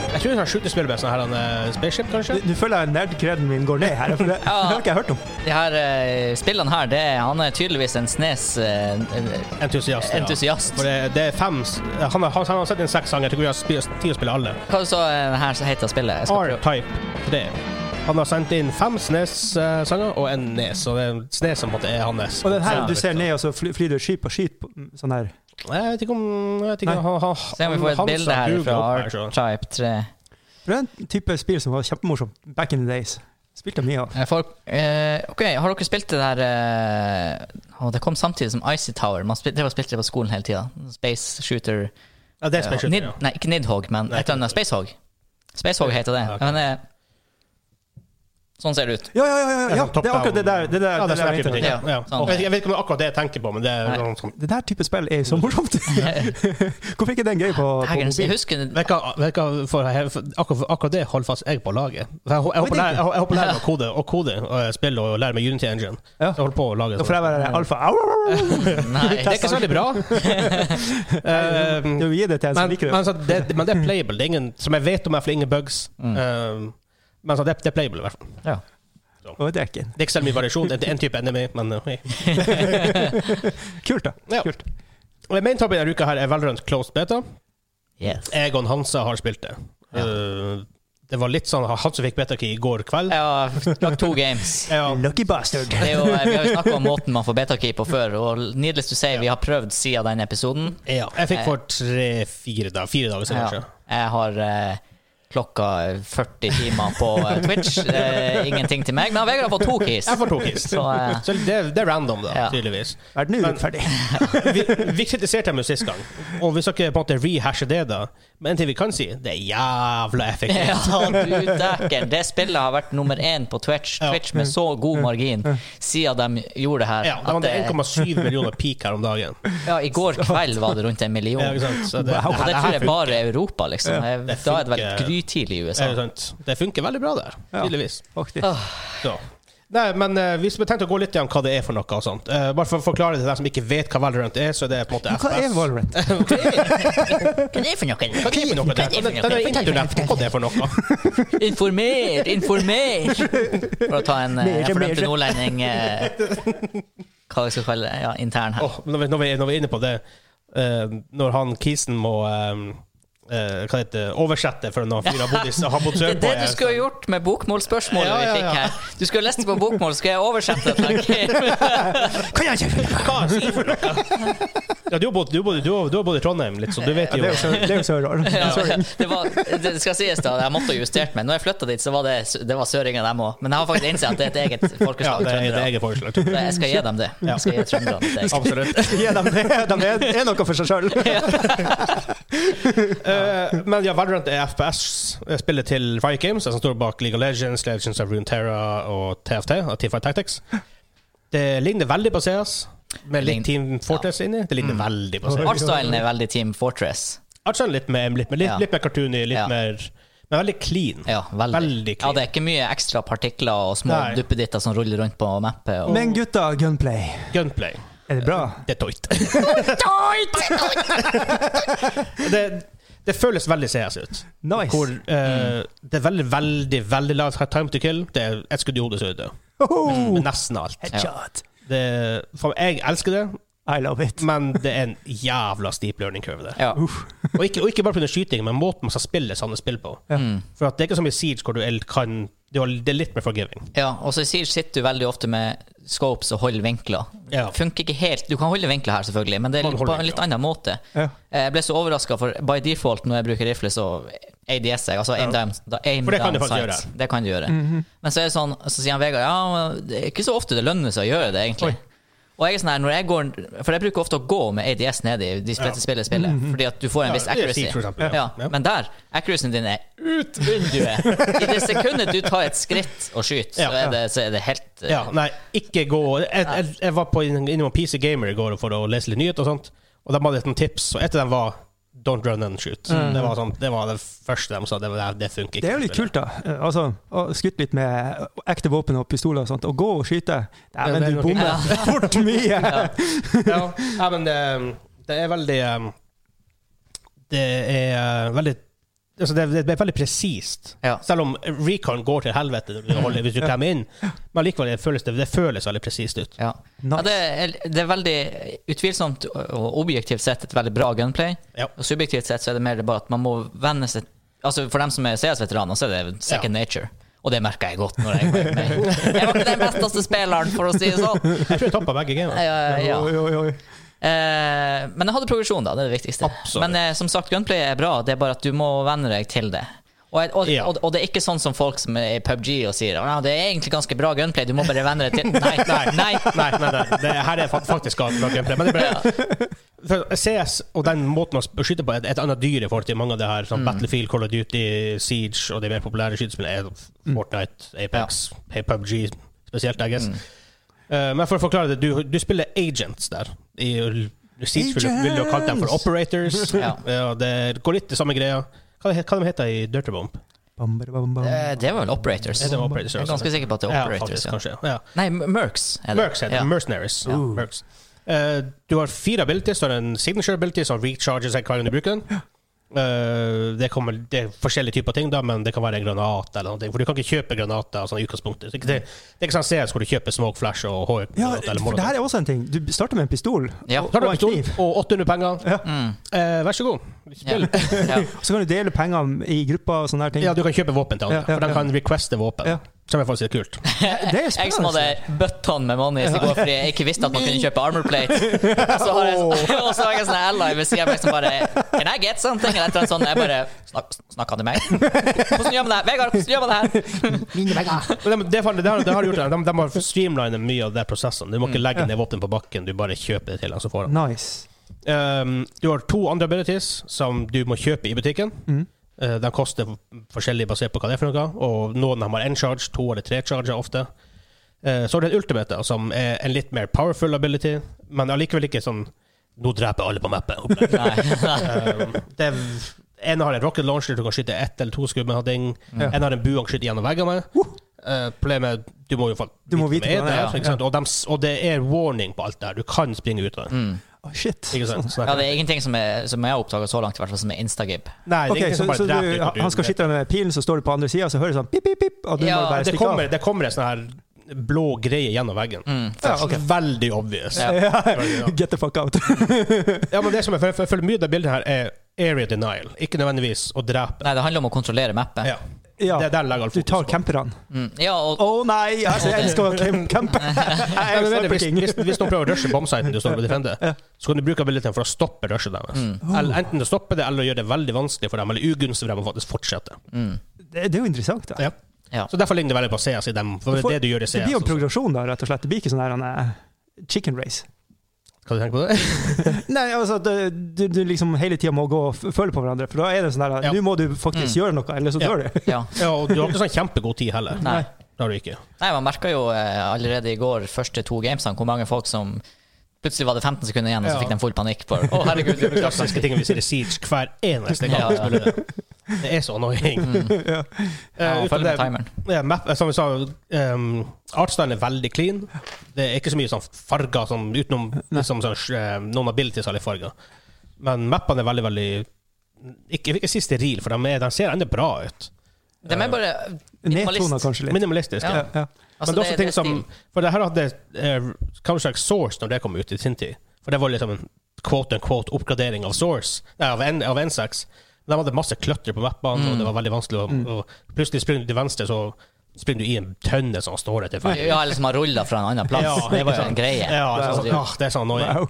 Speaker 1: det er sånn shooterspill med sånn her en eh, spaceship, kanskje?
Speaker 3: Nå føler jeg nerdkreden min går ned her, for det, det har ikke jeg hørt om.
Speaker 2: De her eh, spillene her, det er, han er tydeligvis en eh, Snes-entusiast.
Speaker 1: Entusiast. ja. For det, det er fem s- Han har, han har sett inn seks sanger. Jeg tror vi har sp- tid å spille alle.
Speaker 2: Hva så eh, det her som heter spillet? Jeg skal prøve.
Speaker 1: R-Type 3. Han har sendt inn fem Snes-sanger og en Nes. Og det er Snes som på en måte er sånn. hans.
Speaker 3: Og den her, du
Speaker 1: Ja.
Speaker 3: ser ned, og så fly- flyr du et skip og skyter på sånn her.
Speaker 1: Nei, Jeg vet ikke om jeg vet ikke,
Speaker 3: Nei.
Speaker 1: han, han,
Speaker 2: Se om vi får et
Speaker 1: han-
Speaker 2: bilde
Speaker 1: han
Speaker 2: her
Speaker 1: duger
Speaker 2: fra
Speaker 1: opp her, så.
Speaker 2: R-Type 3.
Speaker 3: For Det er en type spill som var kjempemorsom back in the days. Spilte jeg mye av.
Speaker 2: Eh, Folk, eh, ok, har dere spilt det der eh, å, Det kom samtidig som Icy Tower. Man spil, drev og spilte det på skolen hele tida. Space Shooter.
Speaker 1: Ja, det er Space
Speaker 2: Ja.
Speaker 1: Shooter,
Speaker 2: Nid,
Speaker 1: ja.
Speaker 2: nei, ikke Nidhogg, men
Speaker 1: Nei,
Speaker 2: et eller annet. Spacehog. Spacehog heter det.
Speaker 1: Ja, ok.
Speaker 2: Men, eh, sånn ser det ut.
Speaker 3: Ja, ja, ja! ja, ja.
Speaker 1: sånn top
Speaker 3: Det er akkurat det der. Det,
Speaker 1: Ja,
Speaker 3: der,
Speaker 1: det er
Speaker 3: det, der,
Speaker 1: sånne type ting.
Speaker 3: det,
Speaker 1: Ja.
Speaker 2: Ja, sånn.
Speaker 1: Jeg, vet, ikke- jeg vet ikke om det er akkurat det jeg tenker på, men det er
Speaker 2: Nei.
Speaker 1: noe sånt.
Speaker 3: der type spill er så <laughs> morsomt! Hvorfor ikke den gøy på, på
Speaker 2: Hagen, jeg
Speaker 3: mobil?
Speaker 2: husker
Speaker 1: Vet ikke hva- vet ikke hva- for, for, akkurat, akkurat det holder fast jeg på laget. For Jeg, jeg, håper
Speaker 3: Vet
Speaker 1: lære- jeg, jeg håper å lære meg å kode og kode og spille og lære meg Unity Engine.
Speaker 3: Ja.
Speaker 1: Så jeg holder på å lage
Speaker 3: Da får
Speaker 1: sånn.
Speaker 3: jeg være alfa. Au, au, au, au.
Speaker 2: Nei.
Speaker 1: <laughs> Det er ikke så veldig bra. Eh,
Speaker 3: Du gir det til en som
Speaker 1: men,
Speaker 3: liker det.
Speaker 1: men, så det, men det er playable. Det er ingen, som jeg vet om, er det ingen bugs. Eh, men så det, det er playable, i hvert fall.
Speaker 2: Ja.
Speaker 3: Og det er ikke en.
Speaker 1: Det er ikke så mye variasjon. Det er en type enemy, men eh,
Speaker 3: Kult, da.
Speaker 1: Ja.
Speaker 3: Kult.
Speaker 1: Og Main topic denne uka her er Valorant Closed Beta.
Speaker 2: Yes.
Speaker 1: Egon Hansa har spilt det.
Speaker 2: Ja.
Speaker 1: Eh, det var litt sånn Han som fikk betakey i går kveld.
Speaker 2: Jeg har lagt to games.
Speaker 1: Ja.
Speaker 3: Lucky bastard.
Speaker 2: Det er jo, eh, vi har jo snakka om måten man får betakey på før, og needless to say, vi har prøvd siden den episoden.
Speaker 1: Jeg fikk for tre-fire dager, fire dager siden,
Speaker 2: Ja.
Speaker 1: kanskje.
Speaker 2: Jeg har eh, klokka 40 timer på eh, Twitch. Eh, ingenting til meg. Men han Vegard har fått to keys.
Speaker 1: Jeg får to kiss.
Speaker 2: <laughs> Så, eh,
Speaker 1: Så det, det er random, da,
Speaker 2: Ja.
Speaker 1: tydeligvis.
Speaker 3: Verden er
Speaker 1: Men-
Speaker 3: urettferdig.
Speaker 1: Vi, vi kritiserte dem jo sist gang, og vi skal ikke på en måte rehashe det, da. Men en ting vi kan si, det er jævla effektivt.
Speaker 2: <laughs> Ja, du dæken. Det spillet har vært nummer én på Twitch,
Speaker 1: Ja.
Speaker 2: Twitch med så god margin siden de gjorde det her.
Speaker 1: Ja, det
Speaker 2: at
Speaker 1: var det
Speaker 2: det-
Speaker 1: 1,7 millioner peak her om dagen.
Speaker 2: <laughs> ja, I går kveld var det rundt en million.
Speaker 1: <laughs> Ja, ikke sant? Så det,
Speaker 3: Wow.
Speaker 2: Og det tror jeg bare er Europa, liksom.
Speaker 1: Det
Speaker 2: Da er det vel
Speaker 1: funker-
Speaker 2: grytidlig i
Speaker 1: Ja,
Speaker 2: USA. <laughs>
Speaker 1: ikke sant? det funker veldig bra der,
Speaker 3: Ja.
Speaker 1: tydeligvis.
Speaker 3: Faktisk.
Speaker 1: Så. Nei, men eh, hvis vi tenkte å gå litt igjen hva det er for noe og sånt. Eh, bare for å forklare det til dem som ikke vet hva Valorant er, så det er på en måte
Speaker 3: Men hva er Valorant?
Speaker 2: Hva er det for noe?
Speaker 1: Hva er det for noe? Det er- det er internett. Hva er det for noe?
Speaker 2: Informer! Informer!
Speaker 1: <laughs>
Speaker 2: For å ta en eh,
Speaker 3: Mere,
Speaker 2: fordømte
Speaker 3: mere.
Speaker 2: nordlending eh, Hva jeg skal kalle det? Ja, intern her.
Speaker 1: Åh, når, vi, når, vi, når vi er inne på det, eh, når han Kisen må eh, eh, hva heter det, oversette for når han fyren har bodd i- har bodd
Speaker 2: <laughs> Det
Speaker 1: sørpå
Speaker 2: er det
Speaker 1: i-
Speaker 2: du skulle ha gjort med bokmålsspørsmålet
Speaker 1: sånn. Ja, ja,
Speaker 2: vi fikk
Speaker 1: ja.
Speaker 2: her. Du skulle ha lest det på bokmål, skal jeg oversette det? til deg?
Speaker 3: Kan jeg ikke
Speaker 1: <laughs> Hva er det for noe? Ja, du har bodd, du har bodd, du har, du har bodd i Trondheim litt, så du vet
Speaker 3: Ja,
Speaker 1: jo
Speaker 3: det er jo sånn- så- det er jo så <laughs> rart.
Speaker 2: Ja,
Speaker 3: Sorry.
Speaker 2: det, var, det skal sies da, jeg måtte ha justert meg. Når jeg flytta dit, så var det, det var søringer, dem òg. Men jeg har faktisk innsett at det er et eget
Speaker 1: Ja,
Speaker 2: folkeslag.
Speaker 1: det er det
Speaker 2: trøndere.
Speaker 1: eget forslag.
Speaker 2: Så Jeg skal gi dem det. Jeg skal gi trønderne det.
Speaker 1: Absolutt.
Speaker 3: Gi dem det. De er, er noe for seg sjøl.
Speaker 1: Eh, men ja, Valorant er FPS. eh, Spillet til Riot Games, som står bak League of Legends, Legends of Runeterra og TFT. Og Teamfight Tactics. Det ligner veldig på CS, med litt
Speaker 2: Lign- Mm.
Speaker 1: Team Fortress inni. Det ligner veldig på CS.
Speaker 2: Artstylen er veldig Team Fortress.
Speaker 1: Artsen litt mer litt, mer- litt,
Speaker 2: Ja.
Speaker 1: litt mer cartoony, litt
Speaker 2: Ja.
Speaker 1: mer Men veldig clean.
Speaker 2: Ja, veldig.
Speaker 1: Veldig
Speaker 2: ja,
Speaker 1: clean.
Speaker 2: det er ikke mye ekstra partikler og små
Speaker 1: Nei.
Speaker 2: duppeditter som ruller rundt på mappet. Og...
Speaker 3: Men gutta, gunplay.
Speaker 1: Gunplay.
Speaker 3: Er det bra?
Speaker 1: Det er toit. <laughs> det, det føles veldig CS ut.
Speaker 3: Nice.
Speaker 1: Hvor eh,
Speaker 2: Mm.
Speaker 1: det er veldig, veldig veldig lang time to kill. Det er ett skudd i hodet, så er du død.
Speaker 3: Hoho!
Speaker 2: Mm.
Speaker 1: Med nesten alt.
Speaker 3: Headshot.
Speaker 1: Det, for jeg elsker det,
Speaker 3: I love it.
Speaker 1: men det er en jævla steep learning curve. der.
Speaker 2: Ja.
Speaker 1: Og, ikke, og ikke bare pga. skyting, men måten man skal spille sånne spill på. For at det er ikke som i Siege, hvor du el- kan Det er det er litt mer forgiving.
Speaker 2: ja, og så i Siege sitter du veldig ofte med scopes og holder vinkler.
Speaker 1: Ja.
Speaker 2: Funker ikke helt. Du kan holde vinkler her, selvfølgelig, men det er
Speaker 1: Man
Speaker 2: litt,
Speaker 1: holder
Speaker 2: på en litt annen måte.
Speaker 3: Ja.
Speaker 2: Eh, Jeg ble så overraska, for by default når jeg bruker rifle, så ADS jeg. Altså aim down, da aim
Speaker 1: For det kan du
Speaker 2: down
Speaker 1: faktisk
Speaker 2: sights.
Speaker 1: gjøre.
Speaker 2: Det kan du gjøre. Men så er det sånn, så sier han Vegard ja, men det er ikke så ofte det lønner seg å gjøre det, egentlig. Og jeg er sånn her, når jeg går, For jeg bruker ofte å gå med ADS ned i de fleste spillene jeg spiller, fordi at du får en
Speaker 1: Ja,
Speaker 2: viss
Speaker 1: det er
Speaker 2: accuracy.
Speaker 1: Siege, for eksempel,
Speaker 2: ja.
Speaker 1: ja. Ja.
Speaker 2: Men der, accuracyen din er ut
Speaker 1: <laughs>
Speaker 2: vinduet! I det sekundet du tar et skritt og skyter,
Speaker 1: Ja.
Speaker 2: så, er det, så er det helt eh,
Speaker 1: Ja, nei, ikke gå Jeg, jeg, jeg var på inn- innom PC Gamer i går for å lese litt nyheter og sånt, og de hadde et sånt tips, og et av dem var Don't run and shoot. Det, var sånn, det var det første de sa. Det, var- nei, det funker ikke.
Speaker 3: Mm. Det er jo litt kult, da. Eh, Altså, å skutt litt med ekte våpen og pistoler og sånt, og gå og skyte.
Speaker 1: Ja,
Speaker 3: Dæven,
Speaker 1: det er
Speaker 3: du
Speaker 1: nok-
Speaker 3: bommer fort mye!
Speaker 1: <laughs> ja, ja, men det, det er veldig um, Det er uh, veldig altså det, det er veldig presist.
Speaker 2: Ja.
Speaker 1: Selv om recon går til helvete når du holder, hvis du klemmer inn. Men likevel det føles det, det føles veldig presist ut.
Speaker 2: Ja. ja
Speaker 3: Nice.
Speaker 2: det, er, det er veldig utvilsomt og objektivt sett et veldig bra gunplay.
Speaker 1: Ja.
Speaker 2: Og subjektivt sett så er det mer bare at man må venne seg Altså For dem som er CS-veteraner, så er det second nature. Og det merka jeg godt. når Jeg var med. <laughs> Jeg var ikke den besteste spilleren, for å si det sånn.
Speaker 1: Jeg tror jeg tappa begge gamene.
Speaker 2: Eh, ja.
Speaker 3: Oi, oi, oi.
Speaker 2: Eh, Men jeg hadde progresjon, da. Det er det viktigste.
Speaker 1: Absolutt.
Speaker 2: Men eh, som sagt, gunplay er bra. Det er bare at du må venne deg til det. Og, jeg- og,
Speaker 1: Ja.
Speaker 2: og, og det er ikke sånn som folk som er i PubG og sier «Å, det er egentlig ganske bra gunplay, du må bare venne deg til Nei, nei, nei.
Speaker 1: Nei, nei, nei, det her er fa- faktisk bra bra gameplay. Men det ble, for CS og den måten man skyter på, er et annet dyr i forhold til mange av det her. Sånn Battlefield, Call of Duty, Siege og de mer populære skytespillene. er Fortnite, Apex, PubG spesielt, I
Speaker 2: Mm.
Speaker 1: guess. Eh, men for å forklare det, du, du spiller agents der. I Siege vil du- vil du ha kalt dem for operators.
Speaker 2: Ja.
Speaker 1: Ja, det går litt i samme greia. Hva, he- hva de heter de i Dirty Bomb?
Speaker 3: Bam, bam, bam, bam.
Speaker 2: Eh, Det var vel Operators.
Speaker 1: Er det operators?
Speaker 2: Jeg er ganske sikker på at det er
Speaker 1: Ja,
Speaker 2: Operators.
Speaker 1: faktisk,
Speaker 2: Ja,
Speaker 1: kanskje. Ja.
Speaker 2: Nei, M- Mercs er det.
Speaker 1: Mercs heter det.
Speaker 2: ja.
Speaker 1: Mercenaries. Mercs. Eh, du har fire abilities. Du har en signature ability som recharges hver gang du bruker den. Eh, det, kommer, det er forskjellige typer ting, da, men det kan være en granat eller noe. For du kan ikke kjøpe granater sånn, i utgangspunktet. Så ikke Det, det er ikke sånn CS hvor du kjøper smoke flash og hår.
Speaker 3: Ja, for det her er også en ting. Du starter med en pistol,
Speaker 2: Ja.
Speaker 3: og,
Speaker 1: Tar du
Speaker 3: og en
Speaker 1: pistol
Speaker 3: kniv.
Speaker 1: og 800 penger,
Speaker 2: Mm.
Speaker 1: eh, vær så god.
Speaker 2: Ja.
Speaker 1: Spill.
Speaker 2: <laughs> Ja.
Speaker 3: Så kan du dele penger i grupper og sånne her ting.
Speaker 1: Ja, du kan kjøpe våpen til andre,
Speaker 3: Ja, ja,
Speaker 1: for de
Speaker 3: ja.
Speaker 1: kan requeste våpen.
Speaker 3: Ja.
Speaker 1: Som jeg faktisk er kult.
Speaker 3: Eh, Det er
Speaker 2: Jeg som hadde
Speaker 3: spennende.
Speaker 2: bøtton med money i går fordi jeg ikke visste at man kunne kjøpe armor
Speaker 1: <laughs>
Speaker 2: plate. Og så har jeg, og så <laughs> har jeg en sånn ally ved siden av meg som bare Can I get something? Eller et eller annet sånt. Jeg bare Snak, Snakker han
Speaker 1: <laughs>
Speaker 2: til meg? Hvordan gjør man det? her? Vegard, hvordan gjør man det her?
Speaker 1: Men de, det, har- det har, det har gjort det. De, de har streamlinet mye av de prosessene. Du må
Speaker 2: Mm.
Speaker 1: ikke legge ned våpen på bakken, du bare kjøper det til dem, så får han.
Speaker 3: Nice.
Speaker 1: Ehm, du har to andre abilities som du må kjøpe i butikken.
Speaker 3: Mm.
Speaker 1: Eh, de koster forskjellig basert på hva det er for noe, og noen av dem har én charge, to eller tre charger ofte. Eh, så har du en ultimate, som er en litt mer powerful ability, men allikevel ikke sånn Nå dreper alle på mappet. opplegg.
Speaker 2: <laughs> Nei.
Speaker 1: Um, det er, en har en rocket launcher du kan skyte ett eller to skudd med. Ding.
Speaker 3: Ja.
Speaker 1: En har en bue han skyter gjennom veggene med. Eh, problemet er du må jo fa-
Speaker 3: Du må vite
Speaker 1: hvem det
Speaker 3: hva det
Speaker 1: er.
Speaker 3: er, ja.
Speaker 1: ikke sant? Og, dem s- og det er warning på alt det her. Du kan springe ut av det.
Speaker 2: Mm.
Speaker 3: Å, shit.
Speaker 1: Ikke sant? Sånn
Speaker 2: Ja,
Speaker 1: her.
Speaker 2: det er ingenting som, er, som jeg har oppdaga så langt, i hvert fall som er instagib.
Speaker 1: Nei, det er
Speaker 3: Ok,
Speaker 1: ingen
Speaker 3: så,
Speaker 1: som bare
Speaker 3: så du,
Speaker 1: dreper uten at du
Speaker 3: han skal skyte deg med pilen, så står du på andre sida, så hører du sånn pip, pip, pip, og du
Speaker 2: Ja,
Speaker 3: må bare
Speaker 1: Det
Speaker 3: stikke av.
Speaker 1: kommer, det kommer en sånn her blå greie gjennom veggen.
Speaker 2: Mm.
Speaker 3: Ja, ok.
Speaker 1: Veldig obvious.
Speaker 2: Ja.
Speaker 3: <laughs> Ja. Get the fuck out.
Speaker 1: Ja, men det som er, for, for, for mye av det bildet her er area denial. Ikke nødvendigvis å drepe.
Speaker 2: Nei, det handler om å kontrollere mappet.
Speaker 1: Ja.
Speaker 3: ja.
Speaker 1: Det er der legger alt
Speaker 3: Du <laughs> tar
Speaker 1: fokus på.
Speaker 3: camperne.
Speaker 2: Mm. Ja,
Speaker 3: Å
Speaker 2: og
Speaker 3: nei, altså, jeg elsker å camp- <laughs> campe. Jeg
Speaker 1: Ja,
Speaker 3: er
Speaker 1: men vet du,
Speaker 3: sniper
Speaker 1: hvis,
Speaker 3: king.
Speaker 1: hvis, hvis noen prøver å rushe bombsiten du står og defender, så kan du bruke abilityen for å stoppe rushet deres.
Speaker 2: Mm.
Speaker 3: Oh.
Speaker 1: Eller, enten å stoppe det, eller å gjøre det veldig vanskelig for dem, eller ugunstig for dem å faktisk fortsette.
Speaker 2: Mm.
Speaker 3: Det, det er jo interessant, da.
Speaker 1: Ja.
Speaker 2: Ja.
Speaker 1: Så Derfor ligner det veldig på CS i dem. For
Speaker 3: Du får-
Speaker 1: det du gjør i
Speaker 3: Det
Speaker 1: CS
Speaker 3: blir jo en
Speaker 1: også.
Speaker 3: progresjon, da, rett og slett. Det blir ikke sånn her han er chicken race.
Speaker 1: Hva du tenker på
Speaker 3: <laughs>
Speaker 1: det?
Speaker 3: Nei, altså, det- du, du liksom hele tida må gå og f- føle på hverandre, for da er det sånn her
Speaker 1: Ja.
Speaker 3: Nå må du faktisk
Speaker 2: Mm.
Speaker 3: gjøre noe, eller så
Speaker 1: Ja.
Speaker 3: dør du.
Speaker 2: ja.
Speaker 1: Ja, og du har ikke sånn kjempegod tid heller.
Speaker 2: Nei.
Speaker 1: Det har du ikke.
Speaker 2: Nei, man merka jo eh, allerede i går, første to gamesene, hvor mange folk som Plutselig var det 15 sekunder igjen, og så
Speaker 1: Ja.
Speaker 2: fikk de full panikk.
Speaker 1: <laughs>
Speaker 2: på Å, herregud,
Speaker 1: Det er klassiske ting vi ser i Siege hver eneste gang.
Speaker 2: Ja,
Speaker 1: vi
Speaker 2: ja.
Speaker 1: spiller Det Det er så annoying. <laughs>
Speaker 3: ja.
Speaker 2: Mm. Ja,
Speaker 1: Eh,
Speaker 2: og
Speaker 1: utenom
Speaker 2: følg med
Speaker 1: det-
Speaker 2: timeren.
Speaker 1: Ja, map, som vi sa, um, artstylen er veldig clean. Det er ikke så mye sånn farger som, utenom liksom, sånn, eh, noen abilities har litt farger. Men mappene er veldig, veldig Ikke, ikke si steril, for de, er, de ser ennå bra ut.
Speaker 2: De er bare
Speaker 3: Nedtona
Speaker 2: <laughs> minimalist.
Speaker 3: kanskje litt.
Speaker 1: Minimalistiske.
Speaker 2: Ja.
Speaker 3: Ja.
Speaker 2: Altså,
Speaker 1: Men det er også ting som
Speaker 2: stil.
Speaker 1: For det her hadde uh, Counter-Strike Source når det kom ut i sin tid. For det var liksom en quote-unquote oppgradering av Source, nei, av, N, av N6. De hadde masse kløtter på mappene, og det var veldig vanskelig å og Plutselig springer du til venstre, så springer du i en tønne som står der til feil.
Speaker 2: Ja, eller som har rulla fra en annen plass.
Speaker 1: Ja,
Speaker 2: det
Speaker 1: ikke
Speaker 2: var jo en
Speaker 1: sant.
Speaker 2: greie. Altså,
Speaker 1: Ja, det er sånn,
Speaker 2: Ja.
Speaker 1: åh, det er sånn annoying.
Speaker 3: Wow.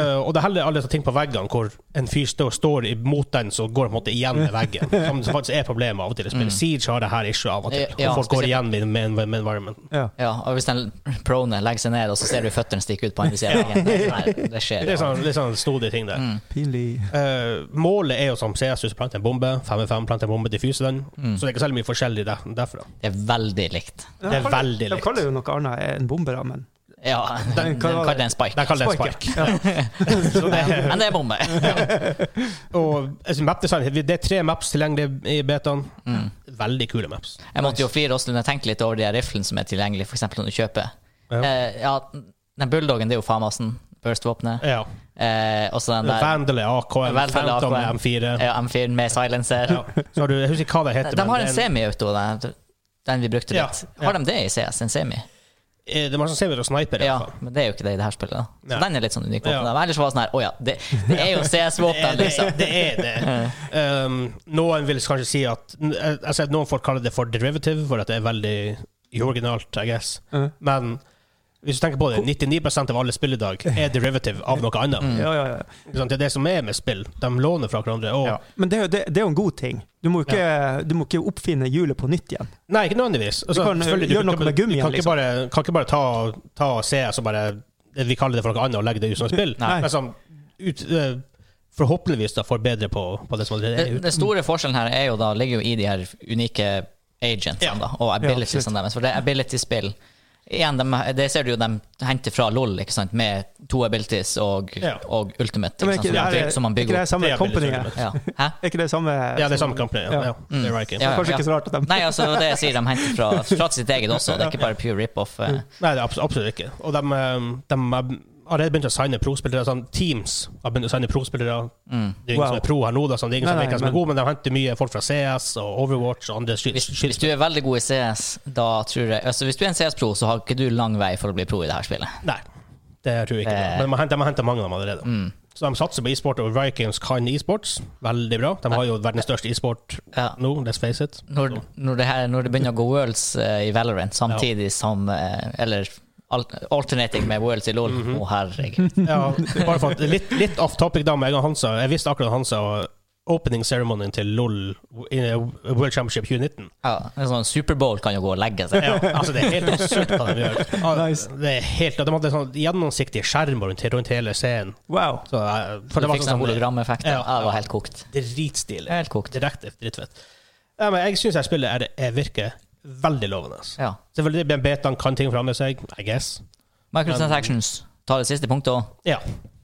Speaker 1: Eh, og det heller alle sånne ting på veggene hvor en fyr står, står imot den, så går han på en måte igjen med veggen. Som det faktisk er problemet av og til. Mm. Siege har det her issue av og til.
Speaker 2: Ja,
Speaker 1: og folk går
Speaker 2: spesielt-
Speaker 1: igjen med, med, med environmenten.
Speaker 3: Ja.
Speaker 2: Ja, og hvis den prone legger seg ned, og så ser du føttene stikke ut på andre sida av veggen. Nei, det skjer.
Speaker 1: Det er sånn, litt sånn snodige ting der.
Speaker 3: Pinlig.
Speaker 1: Eh, målet er jo som CS, du planter en bombe, 5-5, planter en bombe, diffuse den.
Speaker 2: Mm.
Speaker 1: Så det er ikke særlig mye forskjellig der, derfra.
Speaker 2: Det er veldig likt.
Speaker 1: Det er veldig
Speaker 3: De
Speaker 1: likt.
Speaker 3: kaller jo noe annet enn bombere, men
Speaker 2: Ja, den, den
Speaker 3: hva var
Speaker 2: kaller
Speaker 3: det?
Speaker 2: det en spike.
Speaker 1: Der kaller det en spark. Så det er-
Speaker 2: Men det er bombe.
Speaker 1: og altså, mapdesign Det er tre maps tilgjengelig i betaen.
Speaker 2: Mm.
Speaker 1: Veldig kule maps.
Speaker 2: Jeg måtte jo flire også når jeg tenkte litt over de her riflene som er tilgjengelige, f.eks. når du kjøper.
Speaker 1: Ja.
Speaker 2: Eh, ja, den bulldoggen, det er jo Famasen. Burst-våpenet.
Speaker 1: Ja.
Speaker 2: Eh, og så den der
Speaker 1: Vandal er AKM,
Speaker 2: Vandal er
Speaker 1: Phantom er
Speaker 2: AKM.
Speaker 1: M4.
Speaker 2: ja, M4 med silencer.
Speaker 1: Ja. Så har du, jeg husker ikke hva det heter.
Speaker 2: De
Speaker 1: men
Speaker 2: har
Speaker 1: det
Speaker 2: en
Speaker 1: er
Speaker 2: semiauto, den, den vi brukte
Speaker 1: Ja,
Speaker 2: litt.
Speaker 1: ja.
Speaker 2: Har de det i CS, en semi?
Speaker 1: Eh, Det var sånn semi og sniper, i
Speaker 2: Ja,
Speaker 1: hvert fall.
Speaker 2: men det er jo ikke det i det her spillet. Da. Så
Speaker 1: Nei.
Speaker 2: den er litt sånn unik.
Speaker 1: Ja.
Speaker 2: våpen. Men Ellers var det sånn her Å ja, det, det
Speaker 1: <laughs>
Speaker 2: er jo
Speaker 1: Det
Speaker 2: CS-våpen,
Speaker 1: er det.
Speaker 2: liksom.
Speaker 1: det, er
Speaker 2: <laughs>
Speaker 1: det. Um, noen vil kanskje si at n- eh, jeg ser at Noen folk kaller det for derivative, for at det er veldig uoriginalt, I guess.
Speaker 3: Mhm.
Speaker 1: Men hvis du tenker på det, 99 av alle spill i dag er derivative av noe annet.
Speaker 2: Mm.
Speaker 3: ja, ja, ja.
Speaker 1: Ikke sant? Det er det som er med spill. De låner fra hverandre. Og,
Speaker 3: Ja. Men det, er jo- det, det er jo en god ting. Du må jo ikke, du må ikke oppfinne hjulet på nytt igjen.
Speaker 1: Nei, ikke nødvendigvis. Altså,
Speaker 3: Du kan, eh,
Speaker 1: selvfølgelig,
Speaker 3: gjøre noe
Speaker 1: kan-
Speaker 3: med gummien,
Speaker 1: Du kan ikke
Speaker 3: liksom.
Speaker 1: bare, kan ikke bare ta, ta og se, så bare eh, Vi kaller det for noe annet og legge det ut som et spill.
Speaker 3: Nei.
Speaker 1: Men som ut, eh, forhåpentligvis da får bedre på, på det som allerede er
Speaker 2: Den
Speaker 1: ute.
Speaker 2: den store forskjellen her er jo da, ligger jo i de her unike agentsene
Speaker 1: Ja.
Speaker 2: da, og abilitiesene deres. For det er ability-spill. Igjen, de, det ser du jo de henter fra LOL, ikke sant? med to abilities og,
Speaker 1: Ja.
Speaker 2: og ultimate,
Speaker 3: Men
Speaker 2: ikke
Speaker 3: er
Speaker 2: sant?
Speaker 3: ikke
Speaker 2: Som,
Speaker 3: det
Speaker 2: man bygger- som man
Speaker 3: er, er ikke
Speaker 2: bygger
Speaker 3: det
Speaker 2: opp.
Speaker 3: samme
Speaker 1: Det er
Speaker 3: company?
Speaker 1: veldig
Speaker 3: Er
Speaker 2: Ja. Hæ?
Speaker 3: ikke det samme
Speaker 1: Ja, det Mm. er samme company. Ja.
Speaker 3: Ja.
Speaker 1: Ja. Det er Viking.
Speaker 2: Ja, ja,
Speaker 3: Kanskje
Speaker 2: ja.
Speaker 3: ikke så rart at de
Speaker 2: Nei, altså det jeg sier, de henter fra, fra sitt eget også. Det er ikke bare pure rip-off. eh.
Speaker 1: Nei, det er abs- absolutt ikke. Og de, eh, de har allerede begynt å signe prospillere. Sånn, Teams har begynt å signe prospillere.
Speaker 2: Mm.
Speaker 1: Det er ingen
Speaker 3: Wow.
Speaker 1: som er pro her nå, da, sånn. det er ingen som
Speaker 3: Nei,
Speaker 1: vet
Speaker 3: nei,
Speaker 1: hvem som er
Speaker 3: men-
Speaker 1: god, men de henter mye folk fra CS og Overwatch og andre
Speaker 2: Hvis, hvis du er veldig god i CS, da tror jeg altså Hvis du er en CS-pro, så har ikke du lang vei for å bli pro i det her spillet.
Speaker 1: Nei, det tror jeg ikke.
Speaker 2: Eh.
Speaker 1: Men de har hentet- de har henta mange av dem allerede.
Speaker 2: Mm.
Speaker 1: Så de satser på e-sport, og Vikings kan e-sports. Veldig bra. De har jo verdens største e-sport
Speaker 2: Ja.
Speaker 1: nå, let's face it.
Speaker 2: Når, når, det her, når det begynner å gå Worlds eh, i Valorant samtidig som eh, Eller al alternating med Worlds i LOL.
Speaker 1: Mhm.
Speaker 2: Å, herregud.
Speaker 1: Ja, bare for at litt, litt off topic da med en gang Hansa. Jeg visste akkurat Hansa opening ceremonyen til LOL i World Championship 2019.
Speaker 2: Ja, en sånn Superbowl kan jo gå og legge seg.
Speaker 1: Ja, altså Det er helt absurd hva de gjør. Ja,
Speaker 3: Nice.
Speaker 1: Det er helt, De hadde sånn gjennomsiktige skjermer rundt, rundt hele scenen.
Speaker 3: Wow.
Speaker 1: Så, eh, for
Speaker 2: Du
Speaker 1: det var sånn
Speaker 2: fikk sånn
Speaker 1: som-
Speaker 2: hologrameffekt.
Speaker 1: Ja,
Speaker 2: Ja, det var helt kokt.
Speaker 1: Dritstilig.
Speaker 2: Helt kokt.
Speaker 1: Direkte drittfett. Ja, men jeg syns spillet er, er virker veldig lovende. ass.
Speaker 2: Ja.
Speaker 1: Selvfølgelig blir betaen kan ting forandre seg, I guess.
Speaker 2: Microtransactions. Ta det siste punktet òg.
Speaker 1: Ja,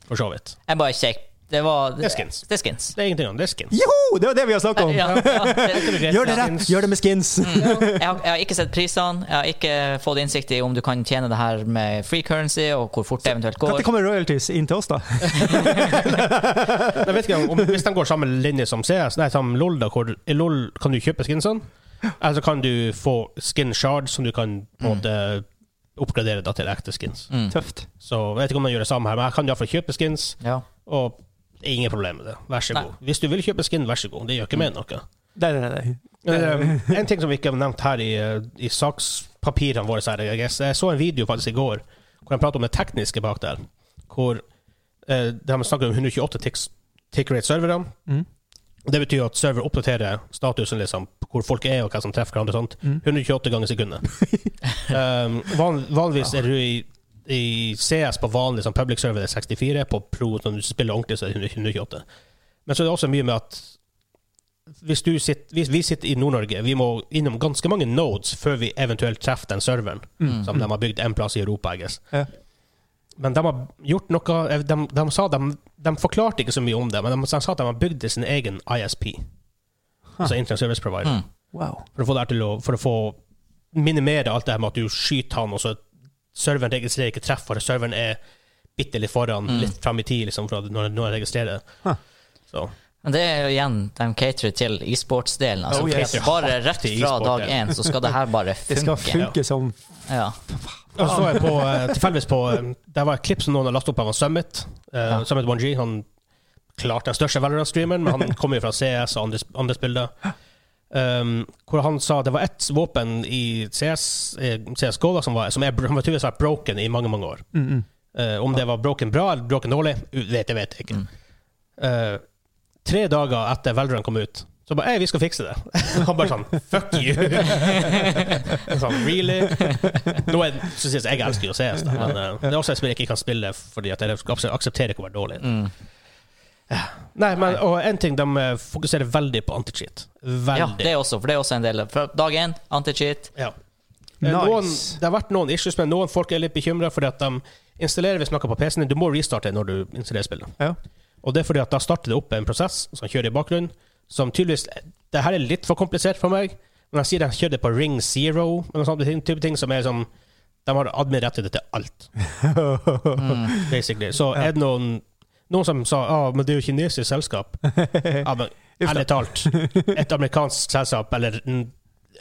Speaker 1: for så vidt.
Speaker 2: Jeg bare kjekk. Det var
Speaker 1: Det er skins.
Speaker 2: Det er skins.
Speaker 1: Det er ingenting annet. Det er skins.
Speaker 3: Joho! Det var det vi har snakket
Speaker 1: <laughs>
Speaker 3: om.
Speaker 2: Ja, ja, det,
Speaker 3: Gjør det rett, gjør det med skins.
Speaker 2: jeg,
Speaker 3: <laughs>
Speaker 2: har, jeg har ikke sett prisene. Jeg har ikke fått innsikt i om du kan tjene det her med free currency, og hvor fort det eventuelt
Speaker 3: Kan
Speaker 2: går.
Speaker 3: det komme royalties inn til oss, da?
Speaker 1: Jeg vet ikke om, om Hvis de går samme linje som CS, nei, som LOL, da, hvor i LOL kan du kjøpe skinsene, eller så kan du få skin shards som du kan på en måte oppgradere da til ekte skins.
Speaker 3: Tøft.
Speaker 1: Så jeg vet ikke om de gjør det samme her, men jeg kan iallfall kjøpe skins,
Speaker 2: Ja.
Speaker 1: og ingen problem med det. Vær så
Speaker 2: Nei.
Speaker 1: god. Hvis du vil kjøpe skin, vær så god. Det gjør ikke meg noe.
Speaker 3: Nei, nei, nei.
Speaker 1: Eh, en ting som vi ikke har nevnt her i, eh, i sakspapirene våre, så er det, I guess. jeg så en video faktisk i går hvor de prater om det tekniske bak der. Hvor eh, de snakker om 128 ticks- tick rate-servere.
Speaker 3: Mm.
Speaker 1: Det betyr at server oppdaterer statusen, liksom, hvor folk er og hva som treffer hverandre. og sånt, 128 ganger sekundet. um, van, vanligvis er du i, i CS på vanlig sånn public server det er 64, på pro når du spiller ordentlig, så er det 128. Men så er det også mye med at hvis, du sitter, hvis vi sitter i Nord-Norge, vi må innom ganske mange nodes før vi eventuelt treffer den serveren
Speaker 2: Mm.
Speaker 1: som de har bygd en plass i Europa. I guess.
Speaker 3: Ja.
Speaker 1: Men de har gjort noe eh, De, de, sa de, de forklarte ikke så mye om det, men de, sa at de har bygd sin egen ISP. Altså Internet Service Provider.
Speaker 2: Mm.
Speaker 3: Wow.
Speaker 1: For å få det her til å For å få minimere alt det her med at du skyter han, og så serveren registrerer ikke treff, for serveren er bitte litt foran, litt fram i tid, liksom, fra når, når den registrerer.
Speaker 3: Huh.
Speaker 1: Så
Speaker 2: Men det er jo igjen, de caterer til e-sportsdelen. Altså,
Speaker 3: Oh, yes.
Speaker 2: Bare rett
Speaker 1: Til
Speaker 2: fra
Speaker 1: e-sport,
Speaker 2: dag
Speaker 1: ja.
Speaker 2: én så skal det her
Speaker 1: <laughs>
Speaker 2: bare
Speaker 3: Det skal
Speaker 2: funke.
Speaker 3: funke som
Speaker 2: Ja.
Speaker 1: Og så så jeg på, eh, tilfeldigvis på eh, Der var et klipp som noen har lastet opp av han Summit. eh,
Speaker 2: Ja.
Speaker 1: Summit 1G. Han klart den største Valorant-streameren, men han kommer jo fra CS og andre, andre spiller. Um, hvor han sa det var ett våpen i CS, eh, CSGO da, som var, som er, som var tydeligvis vært broken i mange mange år.
Speaker 3: Mm,
Speaker 1: Eh, om det var broken bra eller broken dårlig, u- vet jeg vet jeg ikke.
Speaker 2: Mm.
Speaker 1: Eh, tre dager etter Valorant kom ut, så bare Ei, vi skal fikse det. <laughs> Han bare sånn Fuck you! <laughs> sånn, really? Nå er, så sies jeg elsker jo CS, da, men eh, det er også et spill jeg ikke kan spille fordi at jeg akse- aksepterer ikke å være dårlig.
Speaker 2: Mm.
Speaker 1: Ja. Nei, men og en ting de eh, fokuserer veldig på anti-cheat.
Speaker 2: ja,
Speaker 1: Veldig.
Speaker 2: det er også, for det er også en del. Fra dag én, anti-cheat.
Speaker 1: Ja. Eh,
Speaker 3: Nice.
Speaker 1: Noen, det har vært noen issues, men noen folk er litt bekymra fordi at de installerer hvis noe på PC-en din. Du må restarte når du installerer spillet.
Speaker 3: Ja.
Speaker 1: Og det er fordi at da starter det opp en prosess som kjører i bakgrunnen, som tydeligvis Det her er litt for komplisert for meg, men jeg sier de kjører det på Ring Zero, eller noe sånt ting- type ting som er som De har admin-rettigheter til alt, <laughs> basically. Så er det noen noen som sa ah, men det er jo kinesisk selskap. Ja, men ærlig talt, et amerikansk selskap eller en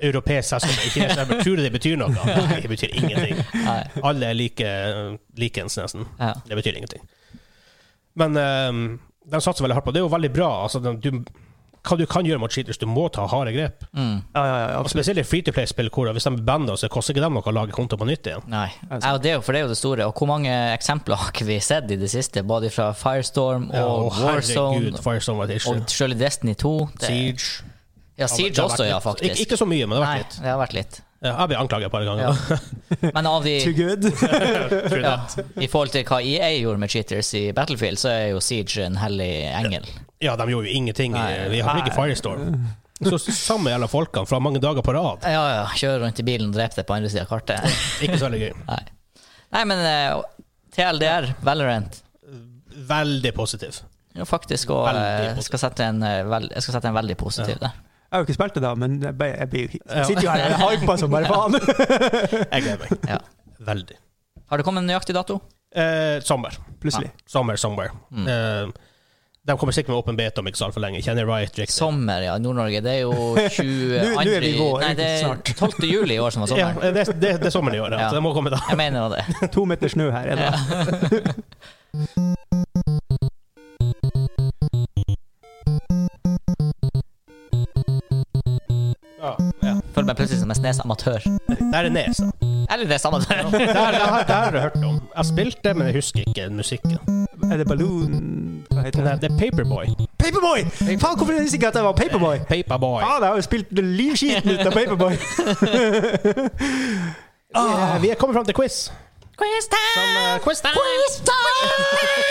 Speaker 1: europeisk selskap ikke kinesisk selskap, tror du det betyr noe? Nei, det betyr ingenting.
Speaker 2: Nei.
Speaker 1: Alle er like, likens, nesten.
Speaker 2: Ja.
Speaker 1: Det betyr ingenting. Men ehm, de satser veldig hardt på det. Det er jo veldig bra. Altså, de, du, hva du kan gjøre mot cheaters, du må ta harde grep.
Speaker 2: Mm.
Speaker 3: Ja, ja, ja.
Speaker 1: Og
Speaker 3: absolutt.
Speaker 1: spesielt i free to play-spill, hvor hvis de bander, så koster ikke dem noe å lage konto på nytt igjen.
Speaker 2: Nei. Ja, og det er jo, for det er jo det store. Og hvor mange eksempler <laughs> har ikke vi sett i det siste? Både fra Firestorm og
Speaker 1: Ja, og
Speaker 2: Warzone.
Speaker 1: herregud, Firestone var et issue.
Speaker 2: Og selv i Destiny 2. Det,
Speaker 1: Siege.
Speaker 2: ja, Siege
Speaker 1: det har vært
Speaker 2: også, ja,
Speaker 1: litt.
Speaker 2: faktisk.
Speaker 1: Ikke, ikke så mye, men det har vært litt.
Speaker 2: Nei, det har vært litt.
Speaker 1: Ja, jeg ble anklaget et par ganger.
Speaker 2: Ja. Men av
Speaker 1: <laughs>
Speaker 2: de
Speaker 3: Too good. <laughs>
Speaker 1: Tror
Speaker 2: ja,
Speaker 1: det.
Speaker 2: <laughs> I forhold til hva EA gjorde med cheaters i Battlefield, så er jo Siege en hellig engel.
Speaker 1: ja, de gjorde jo ingenting.
Speaker 2: Nei.
Speaker 1: i- Vi har ikke Firestorm. Så samme gjelder folkene fra mange dager på rad.
Speaker 2: Ja, ja. Kjøre rundt i bilen og drepe deg på andre sida av kartet.
Speaker 1: <laughs> Ikke så veldig gøy.
Speaker 2: Nei, Nei men eh, TLDR, Valorant
Speaker 1: Veldig positiv.
Speaker 2: jo, faktisk, og
Speaker 1: Veldig
Speaker 2: eh, skal sette en, eh, vel, Jeg skal sette en veldig positiv der.
Speaker 3: Jeg har jo ikke spilt det, da, men jeg, bare- jeg, blir jo-
Speaker 1: Ja.
Speaker 3: jeg sitter jo her og er hypa som bare faen. <laughs>
Speaker 1: Jeg gleder meg.
Speaker 2: Ja.
Speaker 1: Veldig.
Speaker 2: Har det kommet en nøyaktig dato?
Speaker 1: Eh, sommer.
Speaker 3: Plutselig.
Speaker 1: Sommer, somewhere. Eh, de kommer sikkert med åpen beta om ikke så altfor lenge. Kjenner Riot riktig.
Speaker 2: Sommer, ja. Nord-Norge. Det er jo 22
Speaker 3: Nå- nå er vi i vår,
Speaker 2: Nei, det er
Speaker 3: snart.
Speaker 2: 12. juli i år som
Speaker 1: <laughs>
Speaker 2: var
Speaker 1: ja,
Speaker 2: sommeren.
Speaker 1: det, det, det er sommeren i år, ja.
Speaker 2: Ja.
Speaker 1: så det må komme da.
Speaker 2: Jeg mener jo det.
Speaker 3: To meter snø her. Er det.
Speaker 2: Ja. meg plutselig som en Snes-amatør.
Speaker 1: Der er Nes. da.
Speaker 2: Eller det
Speaker 1: <laughs>
Speaker 2: samme.
Speaker 1: Der, der, der, har jeg hørt om. Jeg spilte, men jeg husker ikke musikken.
Speaker 3: Er det Balloon Hva heter
Speaker 1: Nei,
Speaker 3: den?
Speaker 1: det er Paperboy.
Speaker 3: Paperboy! Faen, hvorfor visste jeg ikke at jeg var Paperboy?
Speaker 1: Paperboy.
Speaker 3: Faen, jeg har jo spilt livskiten ut av Paperboy.
Speaker 1: Eh, Vi er kommet fram til quiz.
Speaker 2: Quiz time!
Speaker 1: Som, eh, quiz time!
Speaker 2: Quiz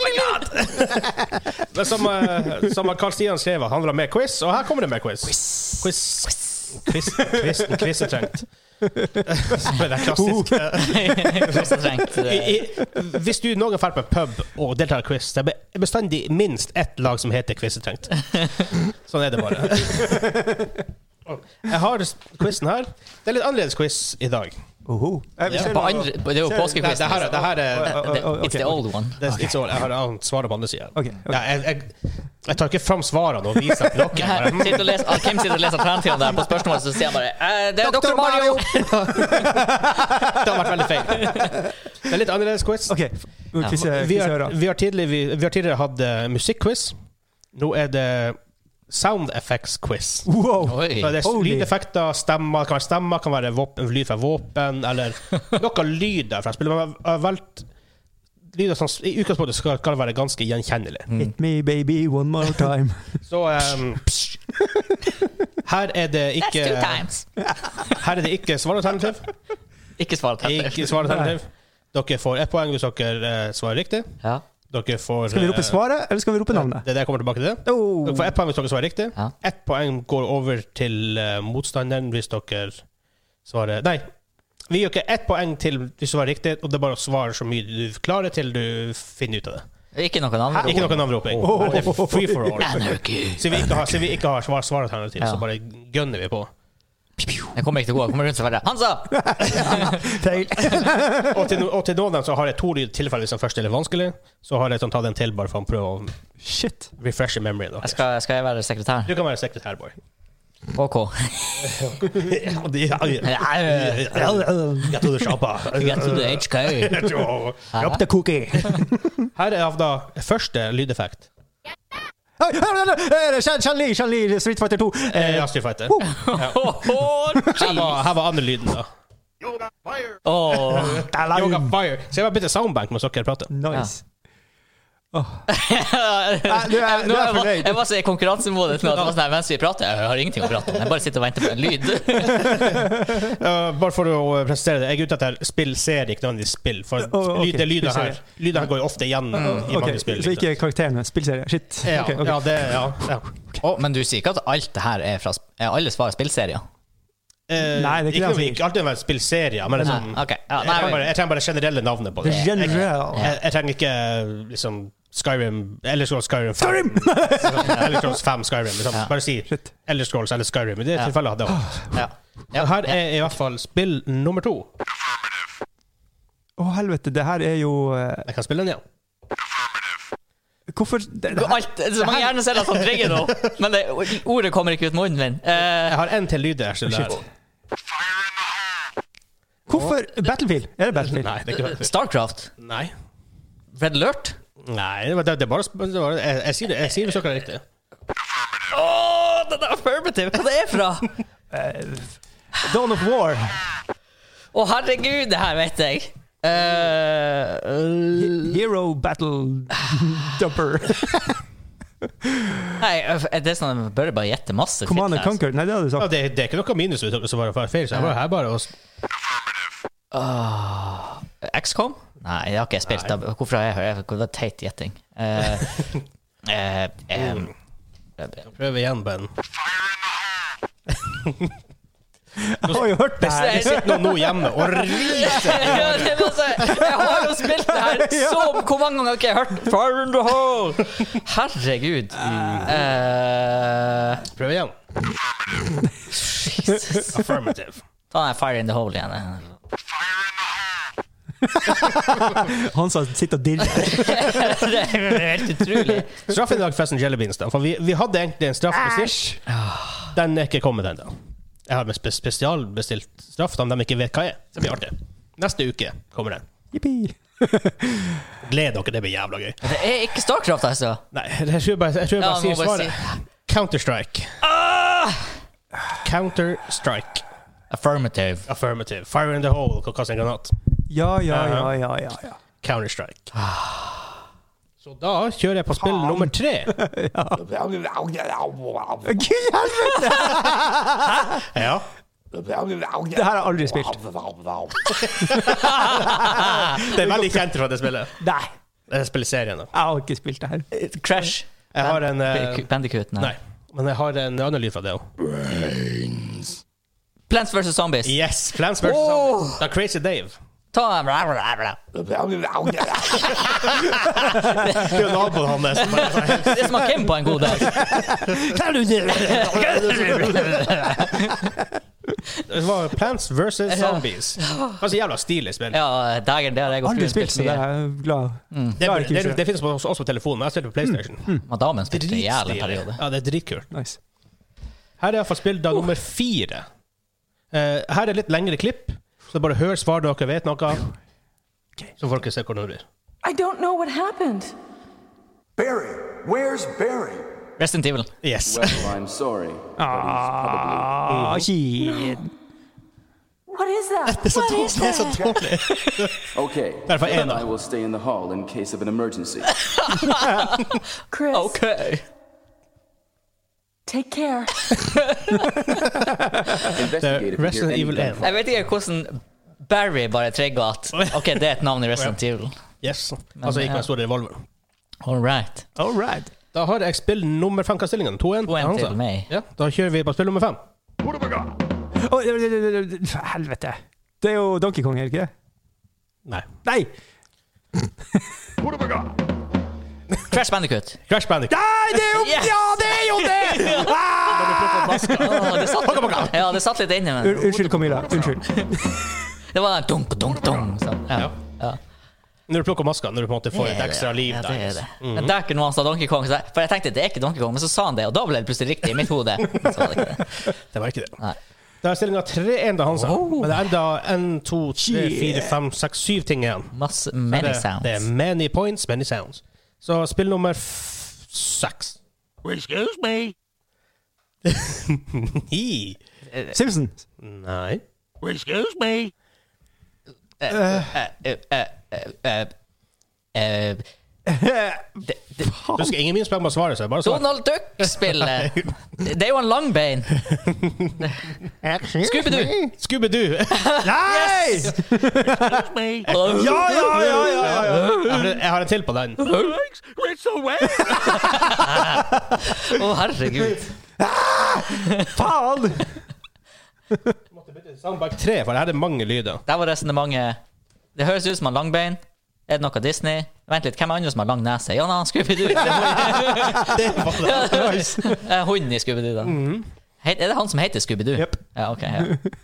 Speaker 1: Oh
Speaker 2: <laughs>
Speaker 1: Men som, eh, som Carl Stian skrev, han vil ha mer quiz, og her kommer det mer quiz. Quiz. Quiz. Quiz. Quiz er <laughs> trengt. Men det er klassisk.
Speaker 2: Quiz trengt.
Speaker 1: I, i, hvis du noen drar på en pub og deltar i quiz, det er be- bestandig minst ett lag som heter Quiz er trengt. Sånn er det bare. Jeg har quizen her. Det er litt annerledes quiz i dag.
Speaker 3: Oho. Eh, vi
Speaker 2: Ja,
Speaker 3: ser
Speaker 2: på
Speaker 3: noe-
Speaker 2: andre, på- det er jo
Speaker 1: Nei,
Speaker 3: ser-
Speaker 1: det
Speaker 2: påskequiz.
Speaker 1: her, er- det her er
Speaker 3: Å, å, å,
Speaker 2: It's the
Speaker 3: ok,
Speaker 2: old one.
Speaker 1: det er ikke så, Jeg har annet svar på andre sida.
Speaker 3: Ok, ok.
Speaker 1: Jeg, jeg, jeg tar ikke fram svarene og viser til dere.
Speaker 2: <laughs>
Speaker 1: bare.
Speaker 2: Sitter og leser, Kim sitter og leser alternativene der på spørsmålet, så sier han bare eh, Det er Dr. Mario!
Speaker 1: Det har vært veldig feil. Det er litt annerledes quiz.
Speaker 3: Ok,
Speaker 2: Ja.
Speaker 3: quiz eh,
Speaker 1: Vi
Speaker 3: quiz
Speaker 1: har,
Speaker 3: øra.
Speaker 1: vi, har tidlig, vi, vi har tidligere hatt eh, musikkquiz. Nå er det sound effects-quiz.
Speaker 3: Wow!
Speaker 1: Så
Speaker 2: <laughs> Oi.
Speaker 1: det er
Speaker 3: Holy.
Speaker 1: lydeffekter, stemmer, kan være stemmer, kan være våpen, lyd fra våpen,
Speaker 3: <laughs>
Speaker 1: eller noe lyd der fra spillet. Men jeg har valgt lyder som i utgangspunktet skal, skal være ganske gjenkjennelig.
Speaker 3: Hit me, baby, one more
Speaker 1: <laughs>
Speaker 3: time.
Speaker 1: Så ehm, <laughs> her er det
Speaker 2: That's
Speaker 1: ikke
Speaker 2: two times.
Speaker 1: <laughs> Her er det ikke
Speaker 3: <laughs>
Speaker 1: svaralternativ.
Speaker 2: Ikke svar tett.
Speaker 1: Ikke svaralternativ. Dere får ett poeng hvis dere eh, svarer riktig.
Speaker 2: Ja.
Speaker 1: Dere får
Speaker 3: Skal vi
Speaker 1: eh,
Speaker 3: rope svaret, eller skal vi rope navnet?
Speaker 1: Det er det jeg kommer tilbake til.
Speaker 3: Oh.
Speaker 1: Dere får ett poeng hvis dere svarer riktig.
Speaker 2: Ja.
Speaker 1: Ett poeng går over til eh, motstanderen hvis dere svarer Nei, vi gjør ikke ett poeng til hvis du svarer riktig, og det er bare å svare så mye du klarer til du finner ut av det.
Speaker 2: Ikke noen andre.
Speaker 1: Ikke noe navneroping.
Speaker 3: Oh.
Speaker 1: Det er free for all.
Speaker 2: Anarchy.
Speaker 1: Siden vi ikke har, siden vi ikke har svar, svaralternativ,
Speaker 2: Ja.
Speaker 1: så bare gønner vi på.
Speaker 2: Jeg kommer ikke til å gå. Jeg kommer rundt og være Hansa!
Speaker 3: Feil.
Speaker 1: Og til, no- og til noen av dem så har jeg to lyd tilfeller hvis den første er litt vanskelig. Så har jeg sånn tatt en til bare for å prøve å
Speaker 3: Shit.
Speaker 1: refreshe memoryen
Speaker 2: Jeg
Speaker 1: deres.
Speaker 2: skal, skal jeg være sekretær?
Speaker 1: Du kan være sekretærboy.
Speaker 2: OK. <laughs>
Speaker 1: Ja, de- ja, ja.
Speaker 2: Jeg
Speaker 1: Jeg trodde sjappa. <laughs>
Speaker 2: trodde HK.
Speaker 3: Drop the cookie.
Speaker 1: Her er da første lydeffekt.
Speaker 3: Oi, her, her, her, her, Shan- Shan-Li, Shan-Li, Street Fighter 2.
Speaker 1: Eh, ja, Street Fighter.
Speaker 2: <laughs>
Speaker 1: Her var, her var andre lyden, da.
Speaker 2: Åh.
Speaker 1: Yoga
Speaker 3: Dalam.
Speaker 1: Fire. Skal jeg bare bytte soundbank mens dere prater?
Speaker 3: Nice.
Speaker 2: Nei,
Speaker 3: du er- du er
Speaker 2: jeg, var,
Speaker 3: fornøyd.
Speaker 2: jeg var så i konkurransemodus nå at det var sånn her, mens vi prater Jeg har ingenting å prate om, jeg bare sitter og venter på en
Speaker 3: <laughs>
Speaker 2: lyd.
Speaker 1: Eh, bare for å presentere det. Jeg er ute etter spillserie, ikke nødvendigvis spill. For
Speaker 3: ok.
Speaker 1: lyd- det lyder her
Speaker 3: Spillserie.
Speaker 1: Lyder her går jo ofte igjen i
Speaker 3: Ok,
Speaker 1: mange spill. liksom.
Speaker 3: Så ikke karakteren, men spillserie. Shit.
Speaker 1: ja,
Speaker 3: Ok, ok.
Speaker 1: ja, det ja, ja.
Speaker 2: men du sier ikke at alt det her er fra sp- Er alle svar spillserier?
Speaker 1: Eh,
Speaker 3: Nei, det er ikke det
Speaker 1: ikke,
Speaker 3: han sier.
Speaker 1: ikke alltid en spillserie, men det er sånn
Speaker 2: Nei, ok. Ja,
Speaker 1: jeg,
Speaker 2: nei,
Speaker 1: trenger
Speaker 2: men-
Speaker 1: bare, jeg trenger bare generelle navnet på det. Jeg, jeg,
Speaker 3: Generell.
Speaker 1: jeg trenger ikke liksom Skyrim Eller Scrolls Skyrim 5. <laughs>
Speaker 3: Skyrim!
Speaker 1: eller Scrolls 5 Skyrim. Liksom.
Speaker 2: Ja.
Speaker 1: Bare si
Speaker 3: Shit. Ah.
Speaker 1: Eller Scrolls eller Skyrim. I det
Speaker 2: Ja.
Speaker 1: tilfellet hadde jeg vært.
Speaker 2: Ja.
Speaker 1: Og her er i hvert fall spill nummer to.
Speaker 3: Å, helvete, det her er jo eh,
Speaker 1: Jeg kan spille den igjen.
Speaker 3: Hvorfor det, det
Speaker 2: Du,
Speaker 3: her,
Speaker 2: Alt, det er så mange hjerneceller som trigger nå, men det, ordet kommer ikke ut munnen min. Eh,
Speaker 1: Jeg har en til lyd der. så det er-
Speaker 3: Hvorfor Battlefield? Er det Battlefield?
Speaker 1: Nei, det er ikke
Speaker 2: Starcraft?
Speaker 1: Nei.
Speaker 2: Red Alert?
Speaker 1: Nei, det var- det, det er bare, sp- det var, jeg, jeg sier det jeg sier det hvis dere er riktig.
Speaker 2: Åh, det er affirmative! Hva det er fra? Å,
Speaker 3: Eh, Dawn of War.
Speaker 2: herregud, det her vet jeg. Eh,
Speaker 3: Hero Battle Dumper.
Speaker 2: nei, det er sånn jeg bør bare gjette masse.
Speaker 3: Command
Speaker 2: fitt her,
Speaker 3: and Conquer. Nei, det hadde du
Speaker 1: Ja,
Speaker 3: sagt.
Speaker 1: det, det er ikke noe minus hvis dere svarer feil. Så jeg var her bare og s-
Speaker 2: altså. XCOM? Nei, det har ikke jeg spilt.
Speaker 1: Nei.
Speaker 2: Da, hvorfor har jeg hørt det? var teit gjetting. Eh, eh, em,
Speaker 1: prøv igjen, Ben.
Speaker 3: Jeg har jo hørt det
Speaker 1: Nei, det
Speaker 3: her.
Speaker 1: sitter noen nå hjemme og riser.
Speaker 2: <laughs> Ja, det var så, <laughs> jeg har jo spilt det <laughs> her så Hvor mange ganger har ikke jeg hørt Fire in the hole? Herregud. Eh,
Speaker 1: Prøv igjen. Affirmative.
Speaker 2: ta den Fire in the hole <laughs> igjen.
Speaker 3: Han som sitter og
Speaker 1: <laughs>
Speaker 3: dirrer.
Speaker 2: Det er helt utrolig.
Speaker 1: Straffen i dag, forresten, Jelly Beans. Da. For vi, vi hadde egentlig en straff bestilt. Den er ikke kommet ennå. Jeg har med spe spesialbestilt straff, da, om de ikke vet hva er. Det blir artig. Neste uke kommer den.
Speaker 3: Jippi.
Speaker 1: Gled dere, det blir jævla gøy.
Speaker 2: Det er ikke Starcraft, altså.
Speaker 1: Nei, jeg tror jeg bare, jeg tror jeg
Speaker 2: Ja,
Speaker 1: bare
Speaker 2: må
Speaker 1: sier
Speaker 2: bare
Speaker 1: svaret. Counter-Strike.
Speaker 2: Ah!
Speaker 1: Counter-Strike.
Speaker 2: Affirmative.
Speaker 1: Affirmative. Fire in the hole. Hva kaster en granat?
Speaker 3: Ja, ja, ja, ja. ja, ja.
Speaker 1: Counter-Strike. Så da kjører jeg på spill nummer tre.
Speaker 3: Gud helvete!
Speaker 1: Ja.
Speaker 3: Det her har jeg aldri spilt.
Speaker 1: Det er veldig kjent fra det spillet.
Speaker 3: <laughs> Nei,
Speaker 1: Jeg spiller serien, da.
Speaker 3: jeg har ikke spilt det her.
Speaker 2: Crash.
Speaker 1: Jeg har en eh,
Speaker 2: Bandicoot, nei.
Speaker 1: Nei. Men jeg har en annen lyd fra det òg.
Speaker 2: Plants vs. Zombies.
Speaker 1: Yes! Plants vs. Zombies. Da Crazy Dave.
Speaker 2: Ta bla, bla, bla.
Speaker 1: Det er jo naboen hans. som bare sier,
Speaker 2: Det som har Kim på en god <laughs> dag.
Speaker 1: Det var Plants vs. Zombies. Ganske jævla stilig spill.
Speaker 2: Ja, dagen der jeg og
Speaker 3: Aldri
Speaker 2: fruen
Speaker 3: spilt, så det
Speaker 2: mye.
Speaker 3: er jeg glad
Speaker 1: Det,
Speaker 3: Klarer ikke
Speaker 1: det,
Speaker 3: selv.
Speaker 1: det finnes på- også på telefon, men jeg spiller på PlayStation.
Speaker 2: Men damen spilte i hjel en periode.
Speaker 1: Ja, det er dritkult.
Speaker 3: Nice.
Speaker 1: Her er iallfall spill da nummer fire. Eh, her er litt lengre klipp, så bare hør svar dere vet noe. Så folk ser hvordan det blir.
Speaker 4: I don't know what happened.
Speaker 5: Barry, where's Barry?
Speaker 2: Rest in Evil.
Speaker 1: Yes.
Speaker 6: Well, I'm sorry.
Speaker 3: Ah, shit.
Speaker 4: What is that?
Speaker 1: What is that?
Speaker 6: Okay.
Speaker 1: Därför är en av-
Speaker 6: I will stay in the hall in case of an emergency.
Speaker 4: Chris,
Speaker 2: OK.
Speaker 4: take care.
Speaker 6: Investigate if you hear
Speaker 1: Resident
Speaker 6: any
Speaker 1: Evil
Speaker 6: gunfire.
Speaker 1: en.
Speaker 2: Jeg vet ikke hvordan Barry bare trigger at OK, det er et navn i Resident Evil. eh,
Speaker 1: Yes. Altså ikke med en stor revolver.
Speaker 2: All right.
Speaker 3: All right.
Speaker 1: Da har jeg spill nummer fem-kastillingen. 2-1
Speaker 2: 2-1
Speaker 1: Hansa.
Speaker 2: til meg.
Speaker 1: Ja, da kjører vi på spill nummer fem.
Speaker 3: Å, det- det- det- det- det- helvete. Det er jo Donkey Kong, er det ikke det?
Speaker 1: Nei.
Speaker 3: Nei!
Speaker 2: Crash Bandicoot.
Speaker 1: Crash Bandic.
Speaker 3: Nei, det er jo
Speaker 2: Yes!
Speaker 3: Ja, det er jo <laughs> det!
Speaker 2: Å, Ah! det satt, ja, det satt litt inne,
Speaker 3: Un-
Speaker 2: men
Speaker 3: Unnskyld, Camilla. Unnskyld.
Speaker 2: det var dunk, dunk, dunk. Sånn. Ja. Ja.
Speaker 1: Når du plukker maska, når du på en måte får et ekstra liv
Speaker 2: ja, det er
Speaker 1: der. altså.
Speaker 2: det. Men der kunne han sa Donkey Kong, så jeg- for jeg tenkte det er ikke Donkey Kong, men så sa han det, og da ble det plutselig riktig i mitt hode. Så var det ikke det.
Speaker 1: Det var ikke det.
Speaker 2: Nei.
Speaker 1: Da er stillinga 3-1 da, Hansa. Men det er enda 1, 2, 3,
Speaker 3: Yeah.
Speaker 1: 4, 5, 6, 7 ting igjen.
Speaker 2: Masse many
Speaker 1: det,
Speaker 2: sounds.
Speaker 1: Det er many points, many sounds. Så spill nummer f- seks. Excuse me. Ni.
Speaker 3: Simpson.
Speaker 1: Nei.
Speaker 2: Eh, eh, eh, eh, eh,
Speaker 1: Husk, ingen minst hvem må svare, så jeg bare svar.
Speaker 2: Donald
Speaker 1: <laughs>
Speaker 2: Duck-spillet! Det er jo en langbein. Scooby-Doo!
Speaker 1: Scooby-Doo! <laughs>
Speaker 3: Nei! Ja, ja, ja, ja, ja. <laughs>
Speaker 1: Jeg har- jeg har en til på den.
Speaker 2: Å, herregud.
Speaker 3: Faen!
Speaker 1: Måtte bytte til Soundback 3, for her er det mange lyder.
Speaker 2: <laughs> Der var resonnementet Det høres ut som en langbein. Er det noe Disney? Vent litt, hvem er andre som har lang nese? Ja, nei,
Speaker 1: <laughs>
Speaker 2: Scooby-Doo. Det er
Speaker 1: Det var det.
Speaker 2: <laughs> Eh, Hunden i Scooby-Doo, da.
Speaker 1: Mhm.
Speaker 2: Heit- Er det han som heter Scooby-Doo?
Speaker 3: Jep.
Speaker 2: Ja,
Speaker 1: <laughs>
Speaker 2: ok. Ja.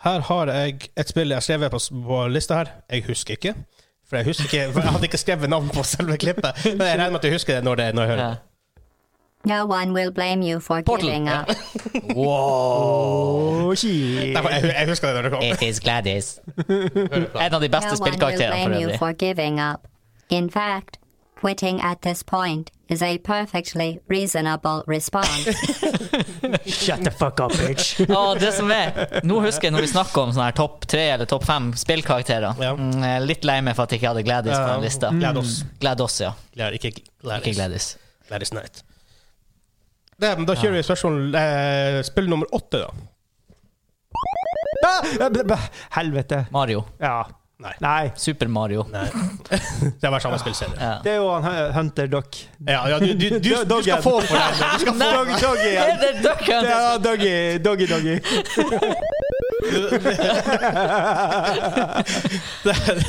Speaker 1: Her har jeg et spill jeg har skrevet på, s- på lista her. Jeg husker ikke. For jeg husker ikke, for jeg hadde ikke skrevet navn på selve klippet. Men jeg regner med at du husker det når, det, når jeg hører
Speaker 2: Ja.
Speaker 1: det.
Speaker 7: No one will blame you for
Speaker 2: Portal.
Speaker 7: giving up.
Speaker 3: Å, shit.
Speaker 1: Derfor, jeg, jeg husker det når det kom.
Speaker 2: It is Gladys. En av de
Speaker 7: No
Speaker 2: beste
Speaker 7: one will
Speaker 2: spillkarakterene for
Speaker 7: blame you
Speaker 2: øvrig.
Speaker 7: for giving up. In fact, quitting at this point is a perfectly reasonable response.
Speaker 3: Shut the fuck up, bitch.
Speaker 2: Å, det som er Nå husker jeg når vi snakker om sånne her topp tre eller topp fem spillkarakterer.
Speaker 1: Ja.
Speaker 2: Mm, jeg er litt lei meg for at jeg ikke hadde Gladys på den lista.
Speaker 1: Mm.
Speaker 3: Mm.
Speaker 1: Gled oss.
Speaker 2: Glad oss, ja.
Speaker 1: Glad, ikke Gladys.
Speaker 2: Ikke Gladys.
Speaker 1: Gladys Knight. Det, men da kjører vi spørsmål eh, Spill nummer åtte, da.
Speaker 3: Ah, b- b- Helvete.
Speaker 2: Mario.
Speaker 3: Ja.
Speaker 1: Nei.
Speaker 3: Nei.
Speaker 2: Super Mario.
Speaker 1: <laughs> Det har vært samme spillserie.
Speaker 2: Ja.
Speaker 3: Det er jo han Hu- Hunter Duck.
Speaker 1: Ja, ja, du, du, du, du,
Speaker 3: Doggen.
Speaker 1: skal få <laughs> for den. Du skal få.
Speaker 3: Doggy, doggy.
Speaker 2: Er <laughs>
Speaker 3: igjen.
Speaker 2: det Duck Hunt?
Speaker 3: Det er doggy, doggy, doggy.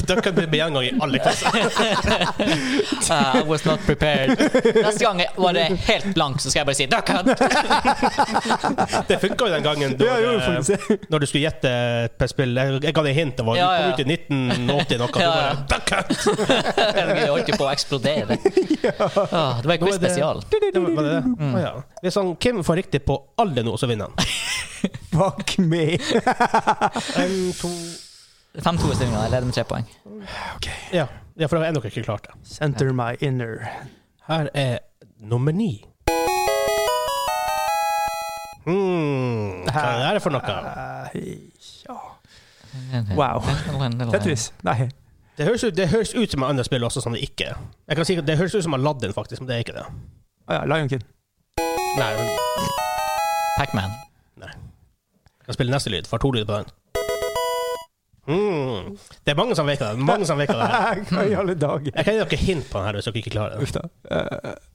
Speaker 1: Dere kan bli gjengang i
Speaker 2: <laughs>
Speaker 1: alle klasser.
Speaker 2: Ah, I was not prepared. Neste gang jeg- var det helt blank, så skal jeg bare si Duck Hunt. <laughs>
Speaker 1: Det funka jo den <laughs> gangen
Speaker 3: Ja, jo,
Speaker 1: når,
Speaker 3: får vi se.
Speaker 1: eh, når du skulle gjette på et spill. Jeg, jeg ga deg hint. Det var,
Speaker 2: Ja, ja.
Speaker 1: Du kom ut i 1980 noe.
Speaker 2: Ja,
Speaker 1: Ja,
Speaker 2: ja. Jeg holdt jo på å eksplodere. Ah, det var en quiz spesial.
Speaker 1: Det var, var det det? Å, ja. Hvis han Kim får riktig på alle nå, så vinner han.
Speaker 3: <laughs> Fuck me.
Speaker 1: En, to
Speaker 2: 5-2 i stillinga. Jeg leder med tre poeng.
Speaker 1: ja. ja, for det er nok ikke klart. det.
Speaker 3: Center my inner.
Speaker 1: Her er nummer ni. Hmm, hva er det for noe?
Speaker 3: Eh, ja. Wow. Tetris? Nei.
Speaker 1: Det høres ut, det høres ut som et annet spill også, som det ikke er. Jeg kan si at Det høres ut som Aladdin, faktisk, men det er ikke det.
Speaker 3: Å ja, Lion King.
Speaker 1: Nei, men-
Speaker 2: Pac-Man.
Speaker 1: nei. Jeg kan spille neste lyd. Får to lyder på den. Hmm. Det er mange som vet hva det er. Mange som vet hva det er.
Speaker 3: <laughs> Hva i alle dager?
Speaker 1: Jeg kan gi dere hint på den her hvis dere ikke klarer det.
Speaker 3: Uff da. Eh,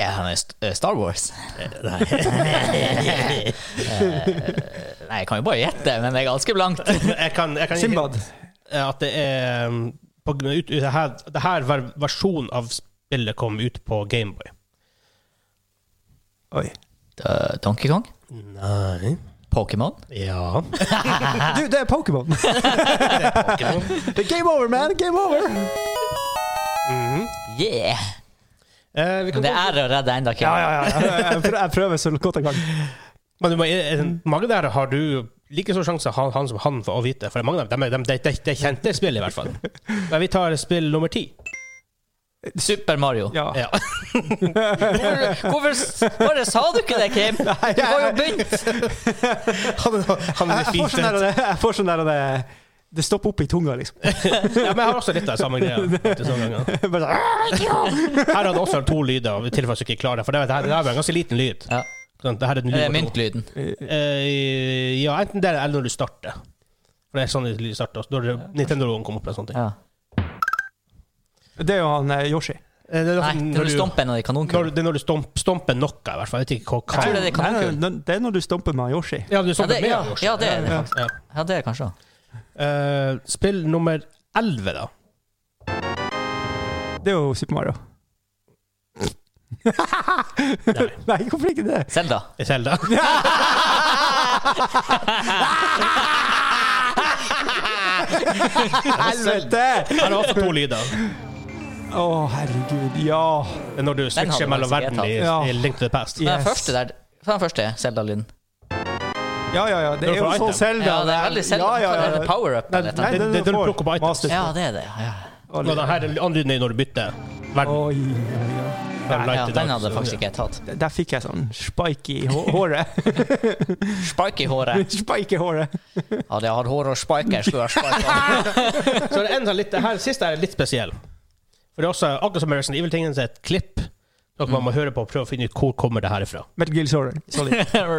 Speaker 2: Ja, han er st- eh, Star Wars. <laughs> Eh,
Speaker 1: Nei.
Speaker 2: Nei, jeg kan jo bare gjette, men det er ganske <laughs> blankt.
Speaker 1: Jeg kan, jeg kan gi
Speaker 3: Simbad.
Speaker 1: at det er um, på, grunn av ut, det her, det her var versjonen av spillet kom ut på Gameboy.
Speaker 3: Oi.
Speaker 2: Eh, Donkey Kong?
Speaker 1: Nei
Speaker 2: Pokémon?
Speaker 1: <laughs> Ja.
Speaker 3: Du, det er Pokémon! Game over, man! Game over!
Speaker 2: Yeah!
Speaker 1: Eh, vi kan
Speaker 2: Men det
Speaker 1: gå-
Speaker 2: er å redde enda
Speaker 3: Ja,
Speaker 2: Kevin.
Speaker 3: ja, ja. Jeg prø- Jeg prøver så godt jeg kan.
Speaker 1: Men du må, eh, mange der har du like stor sjanse han, han som han for å vite. For mange av dem de, de, de, de, de kjente spillet, i hvert fall. Men vi tar spill nummer ti.
Speaker 2: Super Mario.
Speaker 3: Ja.
Speaker 1: Ja.
Speaker 2: Hvorfor, hvorfor s- bare sa du ikke det, Kim? Du har jo begynt!
Speaker 1: <laughs> Han, han er
Speaker 3: Jeg får sånn der, jeg får sånn der det- Det stopper opp i tunga, <laughs> liksom.
Speaker 1: Ja, men jeg har også litt av samme greia. faktisk, noen ganger.
Speaker 3: Bare sånn,
Speaker 1: Her har du også to lyder, i tilfelle du ikke klarer det. For det, det, her, det her var en ganske liten lyd.
Speaker 2: Ja.
Speaker 1: Sånn, Det her er den lyd
Speaker 2: Det er
Speaker 1: nummer to.
Speaker 2: myntlyden.
Speaker 1: Eh, ja, enten det eller når du starter. For det er sånn de starter. Når Nintendo-logoen kom opp med sånne ting.
Speaker 2: Ja.
Speaker 3: Det er jo han eh, Yoshi.
Speaker 1: Eh, det er
Speaker 2: Nei,
Speaker 1: sånn
Speaker 2: det er når du stomper en av de
Speaker 1: når,
Speaker 2: kanonkulene.
Speaker 1: det er når du stomp, stomper noe, i hvert fall. Jeg vet ikke hva
Speaker 2: Jeg tror det
Speaker 1: hva-
Speaker 2: er kanonkulen.
Speaker 3: Nei, nei, det er når du stomper med han Yoshi.
Speaker 1: Ja, du
Speaker 2: Ja,
Speaker 1: stomper
Speaker 2: det,
Speaker 1: med
Speaker 2: ja,
Speaker 1: Yoshi.
Speaker 2: ja, det er det.
Speaker 3: Ja.
Speaker 1: Ja.
Speaker 2: Ja, det er det kanskje.
Speaker 1: Eh, spill nummer 11, da.
Speaker 3: Det er jo Super <laughs> Mario. Nei, hvorfor ikke det?
Speaker 2: Selda.
Speaker 1: I Zelda.
Speaker 3: Helvete!
Speaker 1: Her er også to lyder.
Speaker 3: Å, herregud. Ja.
Speaker 1: Det er Når du switcher
Speaker 2: hadde
Speaker 1: mellom
Speaker 2: faktisk
Speaker 1: verden i,
Speaker 2: jeg
Speaker 3: tatt.
Speaker 1: i Link to the Past.
Speaker 3: Ja.
Speaker 2: Den
Speaker 3: Yes.
Speaker 2: første der Den første Selda-lyden.
Speaker 3: Ja, ja, ja. Det er jo
Speaker 1: får
Speaker 3: så
Speaker 1: item.
Speaker 3: Zelda.
Speaker 2: Ja, det er veldig Zelda.
Speaker 3: Ja, ja,
Speaker 2: Hva er
Speaker 3: ja.
Speaker 2: det? Power-up,
Speaker 3: Nei,
Speaker 2: eller noe?
Speaker 3: nei,
Speaker 1: Det-
Speaker 3: den
Speaker 1: det- den
Speaker 3: får
Speaker 1: plukker på item.
Speaker 3: Master
Speaker 2: Ja,
Speaker 3: Sword.
Speaker 2: det er det. Ja.
Speaker 1: Og den her andre lyden er når du bytter verden.
Speaker 3: Oi, oi, oi.
Speaker 1: fra
Speaker 2: Ja,
Speaker 1: Light
Speaker 2: ja,
Speaker 1: til
Speaker 2: den
Speaker 1: Dark,
Speaker 2: hadde
Speaker 1: så-
Speaker 2: faktisk ikke jeg tatt.
Speaker 3: Der fikk jeg sånn spike i hå- håret.
Speaker 2: Spike i håret.
Speaker 3: <laughs> Spike i håret.
Speaker 2: Hadde jeg hatt hår og spiker, skulle jeg <laughs> ha spike.
Speaker 1: Så det er en sånn litt, det her siste er litt spesiell. For det er også, akkurat som Resident Evil-tingen, så er det et klipp. Noe man må høre på og prøve å finne ut hvor kommer det her ifra.
Speaker 3: Metal Gear Solid. Solid.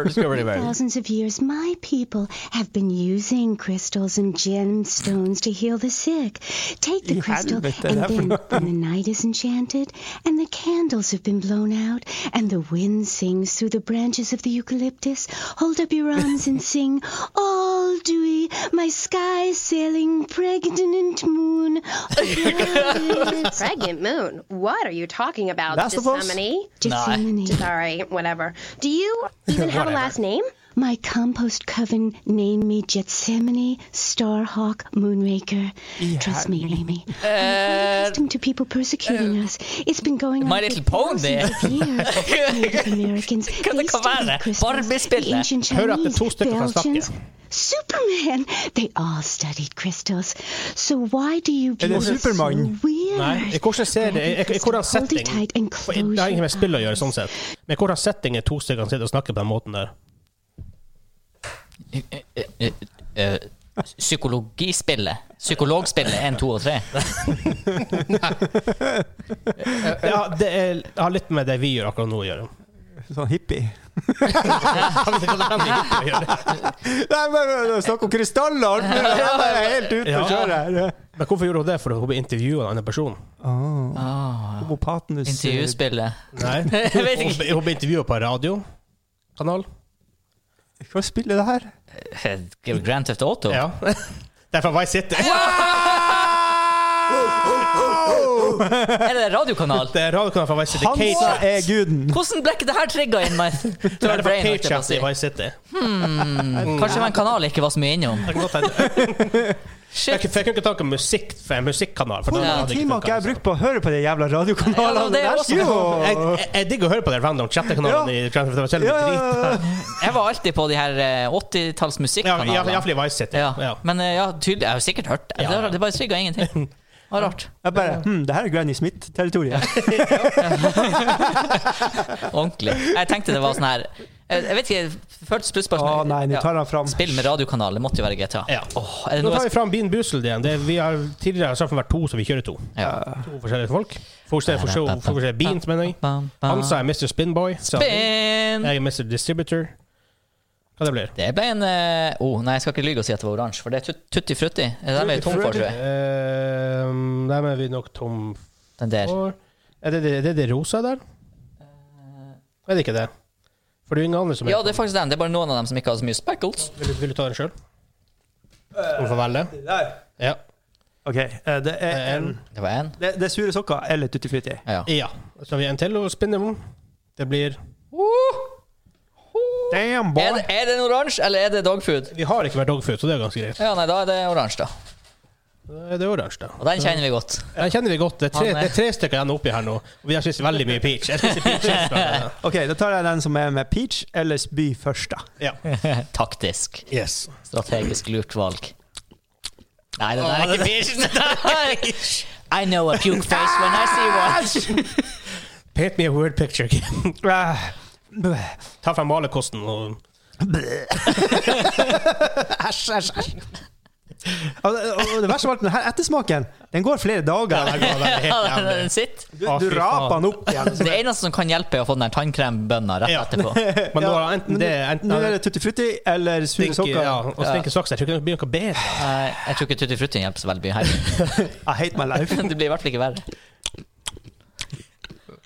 Speaker 1: Discovery World.
Speaker 8: Thousands of years, my people have been using crystals and gemstones to heal the sick. Take the
Speaker 3: You had
Speaker 8: crystal,
Speaker 3: it, but
Speaker 8: and
Speaker 3: I
Speaker 8: then,
Speaker 3: forgot.
Speaker 8: <laughs> when the night is enchanted, and the candles have been blown out, and the wind sings through the branches of the eucalyptus, hold up your arms and sing, All dewy, my sky sailing pregnant
Speaker 9: <laughs>
Speaker 8: moon.
Speaker 9: Pregnant moon? What are you talking about,
Speaker 3: Last of Us?
Speaker 9: Dissemini?
Speaker 8: Disseminate.
Speaker 9: Sorry, whatever. Do you even have a last name?
Speaker 8: My compost coven name me Jetsemini, Starhawk, Moonraker. Trust me, Amy. I'm accustomed to people persecuting us. It's been going
Speaker 2: Uh, My
Speaker 8: on
Speaker 2: Little
Speaker 8: for
Speaker 2: Pony.
Speaker 8: thousands of years.
Speaker 2: <laughs>
Speaker 8: Native Americans,
Speaker 2: Kan det ikke
Speaker 8: they
Speaker 2: være? er
Speaker 8: studied Christmas,
Speaker 2: Barbie-spillet.
Speaker 8: the ancient
Speaker 1: Hører at det er
Speaker 8: Chinese,
Speaker 1: to stykker fra Sverige.
Speaker 8: Belgians, Superman! They all studied crystals. So why do
Speaker 1: Er
Speaker 8: you
Speaker 3: det
Speaker 8: people so
Speaker 3: Superman?
Speaker 8: weird?
Speaker 1: Nei, i hvordan ser det, i, i, i hvordan
Speaker 8: Hold it
Speaker 1: setting
Speaker 8: tight and
Speaker 1: For er
Speaker 8: close
Speaker 1: Det har ingenting med
Speaker 8: your
Speaker 1: spill å gjøre,
Speaker 8: eyes.
Speaker 1: sånn sett. Men i hvordan setting er to stykker som sitter og snakker på den måten der?
Speaker 2: Eh, eh, Psykologispillet. Psykologspillet 1, 2 og 3.
Speaker 1: Ja, det er, det har litt med det vi gjør akkurat nå å gjøre.
Speaker 3: Sånn hippie.
Speaker 1: Å gjøre.
Speaker 3: Nei, men men, snakk om krystaller! Jeg er helt ute å kjøre her.
Speaker 1: Men hvorfor gjorde hun det? For å intervjue en annen person?
Speaker 3: Homopatenes
Speaker 2: Intervjuspillet.
Speaker 1: Nei.
Speaker 2: <laughs> Jeg vet
Speaker 1: Hun
Speaker 2: ikke.
Speaker 1: ble- hun ble intervjua på en radiokanal.
Speaker 3: Hva spiller det her?
Speaker 2: Grand Theft Auto.
Speaker 1: Ja. <laughs> Det er fra Vice City.
Speaker 2: Er det radiokanal?
Speaker 1: Det er radiokanal fra Vice City.
Speaker 3: Hansa
Speaker 1: Kate-
Speaker 3: er guden.
Speaker 2: Hvordan ble ikke det her trigga inn meg?
Speaker 1: Så er det fra
Speaker 2: Brain,
Speaker 1: Kate
Speaker 2: holdt jeg på å
Speaker 1: Chat
Speaker 2: si.
Speaker 1: i Vice City.
Speaker 2: Kanskje det var en kanal jeg ikke var så mye innom.
Speaker 1: Det kan godt hende. Jeg
Speaker 2: Shit.
Speaker 1: kunne jeg kunne ikke tanke musikk fra en musikkanal. For da
Speaker 3: Hvor
Speaker 1: hadde jeg
Speaker 3: mange
Speaker 1: ikke
Speaker 3: timer har
Speaker 1: tanket
Speaker 3: ikke jeg brukt på å høre på de jævla radiokanalene?
Speaker 2: altså. Ja, det var det
Speaker 3: Der
Speaker 2: også.
Speaker 3: skulle jo-
Speaker 1: Jeg, jeg, jeg digger å høre på de random chattekanalene i Grand Theft Auto. Selv om
Speaker 3: Ja,
Speaker 1: det er
Speaker 3: ja,
Speaker 1: drit.
Speaker 3: ja.
Speaker 2: Jeg var alltid på de her eh,
Speaker 1: <laughs> Ja, i-
Speaker 2: 80-tallsmusikkanalene.
Speaker 1: Iallfall i Vice City.
Speaker 2: Ja.
Speaker 1: Ja.
Speaker 2: Men eh, ja, tydelig, jeg har jo sikkert hørt det. Det, det bare trigga ingenting.
Speaker 1: <laughs>
Speaker 2: Det var rart.
Speaker 3: Jeg bare hm, det her er Granny Smith-territoriet.
Speaker 2: Ordentlig. Jeg tenkte det var sånn her Eh, Jeg vet ikke, føltes plutselig
Speaker 3: Å Ah, nei, nå tar han fram
Speaker 2: Spill med radiokanal, det måtte jo være GTA.
Speaker 1: Ja.
Speaker 2: Åh, er det
Speaker 1: Nå
Speaker 2: noe
Speaker 1: tar vi
Speaker 2: jeg
Speaker 1: fram Bean Boozled igjen. Det, vi har tidligere sagt det vært to, så vi kjører to.
Speaker 2: skal ja.
Speaker 1: To forskjellige folk. Fokuser for se Beans, mener jeg. Hansa er Mr. Spinboy. Jeg
Speaker 2: Spin!
Speaker 1: er Mr. Distributor. Hva det blir
Speaker 2: Det ble en eh, oh, Nei, jeg skal ikke lyge og si at det var oransje, for det er tut- Tutti Frutti. Den er vi tom for, tror jeg.
Speaker 1: Eh, Dem er vi nok tom
Speaker 2: Den der.
Speaker 1: for. Er det det, er det, det rosa der? Er det ikke det? For det er jo ingen andre som er
Speaker 2: Ja, det er faktisk den. Det er bare noen av dem som ikke har så mye speckles.
Speaker 1: vil, du- vil du ta den sjøl? Du får velge. Ja.
Speaker 3: OK, eh, det er en
Speaker 2: Det var en.
Speaker 3: det, det er sure sokker eller tutti frutti.
Speaker 2: Ja.
Speaker 1: ja. Så har vi en til å spinne om. Det blir
Speaker 3: Damn,
Speaker 2: Er
Speaker 3: boy!
Speaker 2: det, er det en oransje, eller er det dogfood?
Speaker 1: Vi har ikke vært dogfood, så det er ganske greit.
Speaker 2: Ja, nei, da er det oransje, da.
Speaker 1: Da er Det oransje, da.
Speaker 2: Og den kjenner vi godt.
Speaker 1: Den kjenner vi godt. Det er tre,
Speaker 2: Han er-
Speaker 1: det er tre stykker igjen oppi her nå. Og vi har spist veldig mye peach. Jeg spiser peach chips fra den.
Speaker 3: OK, da tar jeg den som er med peach eller spy først, da.
Speaker 1: Ja.
Speaker 2: Taktisk.
Speaker 1: Yes.
Speaker 2: Strategisk lurt valg. Nei, <laughs> det der er ikke bitch. I know a puke face when I see
Speaker 1: Ah,
Speaker 2: one.
Speaker 1: Paint me a word picture. Kim.
Speaker 3: Ah, bleh,
Speaker 1: Ta frem malerkosten og
Speaker 3: bleh. Æsj, æsj, æsj. Og, og og det verste var at den her ettersmaken den går flere dager.
Speaker 1: Der går den
Speaker 2: <laughs>
Speaker 1: helt
Speaker 2: <laughs> Ja,
Speaker 1: jævlig.
Speaker 2: den sitter.
Speaker 3: Du,
Speaker 1: Å,
Speaker 3: du
Speaker 1: fy faen.
Speaker 3: raper den opp igjen.
Speaker 2: Det eneste som kan hjelpe, er å få den der tannkrembønna rett
Speaker 1: Ja.
Speaker 2: etterpå.
Speaker 1: Men nå
Speaker 3: Ja,
Speaker 1: har enten
Speaker 3: men
Speaker 1: det
Speaker 3: nå-
Speaker 1: enten
Speaker 3: Nå
Speaker 1: har
Speaker 3: er
Speaker 1: det
Speaker 3: det tutti frutti eller sure
Speaker 1: stinky,
Speaker 3: sokker.
Speaker 1: ja, og stinky socks. Jeg tror ikke det blir noe bedre.
Speaker 2: Nei, Eh, jeg tror ikke Tutti Frutti hjelper så veldig mye her. <laughs>
Speaker 3: I hate my life.
Speaker 2: Det blir i hvert fall ikke verre.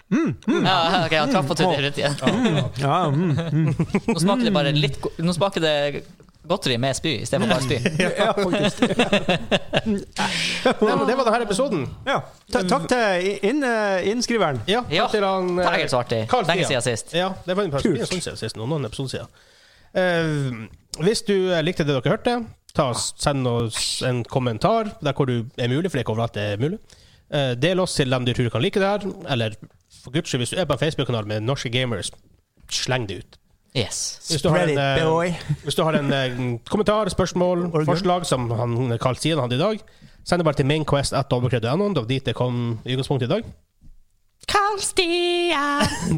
Speaker 1: Mm,
Speaker 2: Ja, ok, jeg traff på Tutti Frutti.
Speaker 3: Ja, mm.
Speaker 2: Nå smaker det bare litt go- Nå smaker det godteri med spy i stedet for bare spy.
Speaker 3: ja, faktisk.
Speaker 1: Nei, men det var denne episoden.
Speaker 3: Ja. Ta, takk til i- inn, eh, innskriveren.
Speaker 1: Ja,
Speaker 2: Ja,
Speaker 1: takk til han
Speaker 2: det er helt så artig.
Speaker 1: Carl
Speaker 2: Lenge
Speaker 1: Stian.
Speaker 2: siden sist.
Speaker 1: Ja, det var en par
Speaker 3: Kult.
Speaker 1: en stund siden sist. nå, Noen episoder siden. Eh, hvis du eh, likte det dere hørte, ta, oss- send oss en kommentar der hvor du er mulig, for det er ikke overalt det er mulig. Eh, del oss til dem du tror kan like det her, eller for guds skyld, hvis du er på en Facebook-kanal med norske gamers, sleng det ut.
Speaker 2: Yes.
Speaker 1: Hvis du har
Speaker 3: Spread
Speaker 1: en,
Speaker 3: it,
Speaker 1: eh,
Speaker 3: boy.
Speaker 1: <laughs> hvis du har en eh, kommentar, spørsmål,
Speaker 3: Organ.
Speaker 1: forslag, som han, Carl Sien hadde i dag, send det bare til mainquest.no, det var dit det kom i utgangspunktet i dag.
Speaker 2: Carl Stian!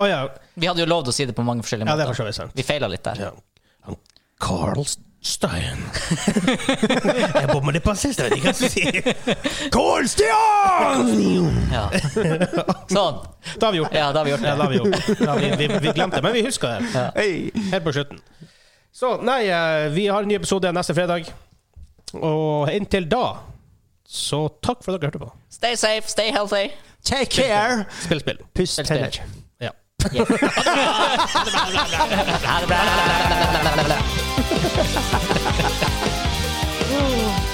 Speaker 1: Å ja,
Speaker 2: Vi hadde jo lovd å si det på mange forskjellige
Speaker 1: ja, det er for
Speaker 2: måter.
Speaker 1: så vidt sant.
Speaker 2: Vi feila litt der.
Speaker 1: Ja. Han Carl Stein. <laughs> jeg bommer litt på sist, jeg vet ikke hva jeg skal si.
Speaker 2: <laughs> Ja. Sånn.
Speaker 1: Da har vi gjort det.
Speaker 2: Ja, da har vi gjort
Speaker 1: Ja, da
Speaker 2: det.
Speaker 1: har vi, gjort det. Da har vi, vi, vi glemte det, men vi huska det.
Speaker 3: Hei.
Speaker 1: Helt på slutten. Så nei, eh, vi har en ny episode neste fredag. Og inntil da, så takk for at dere hørte på.
Speaker 2: Stay safe, stay healthy.
Speaker 3: Take care.
Speaker 1: Spill spill.
Speaker 3: Puss
Speaker 2: Spill,
Speaker 3: tenner.
Speaker 2: spill.
Speaker 1: Ja.
Speaker 2: Ha det bra.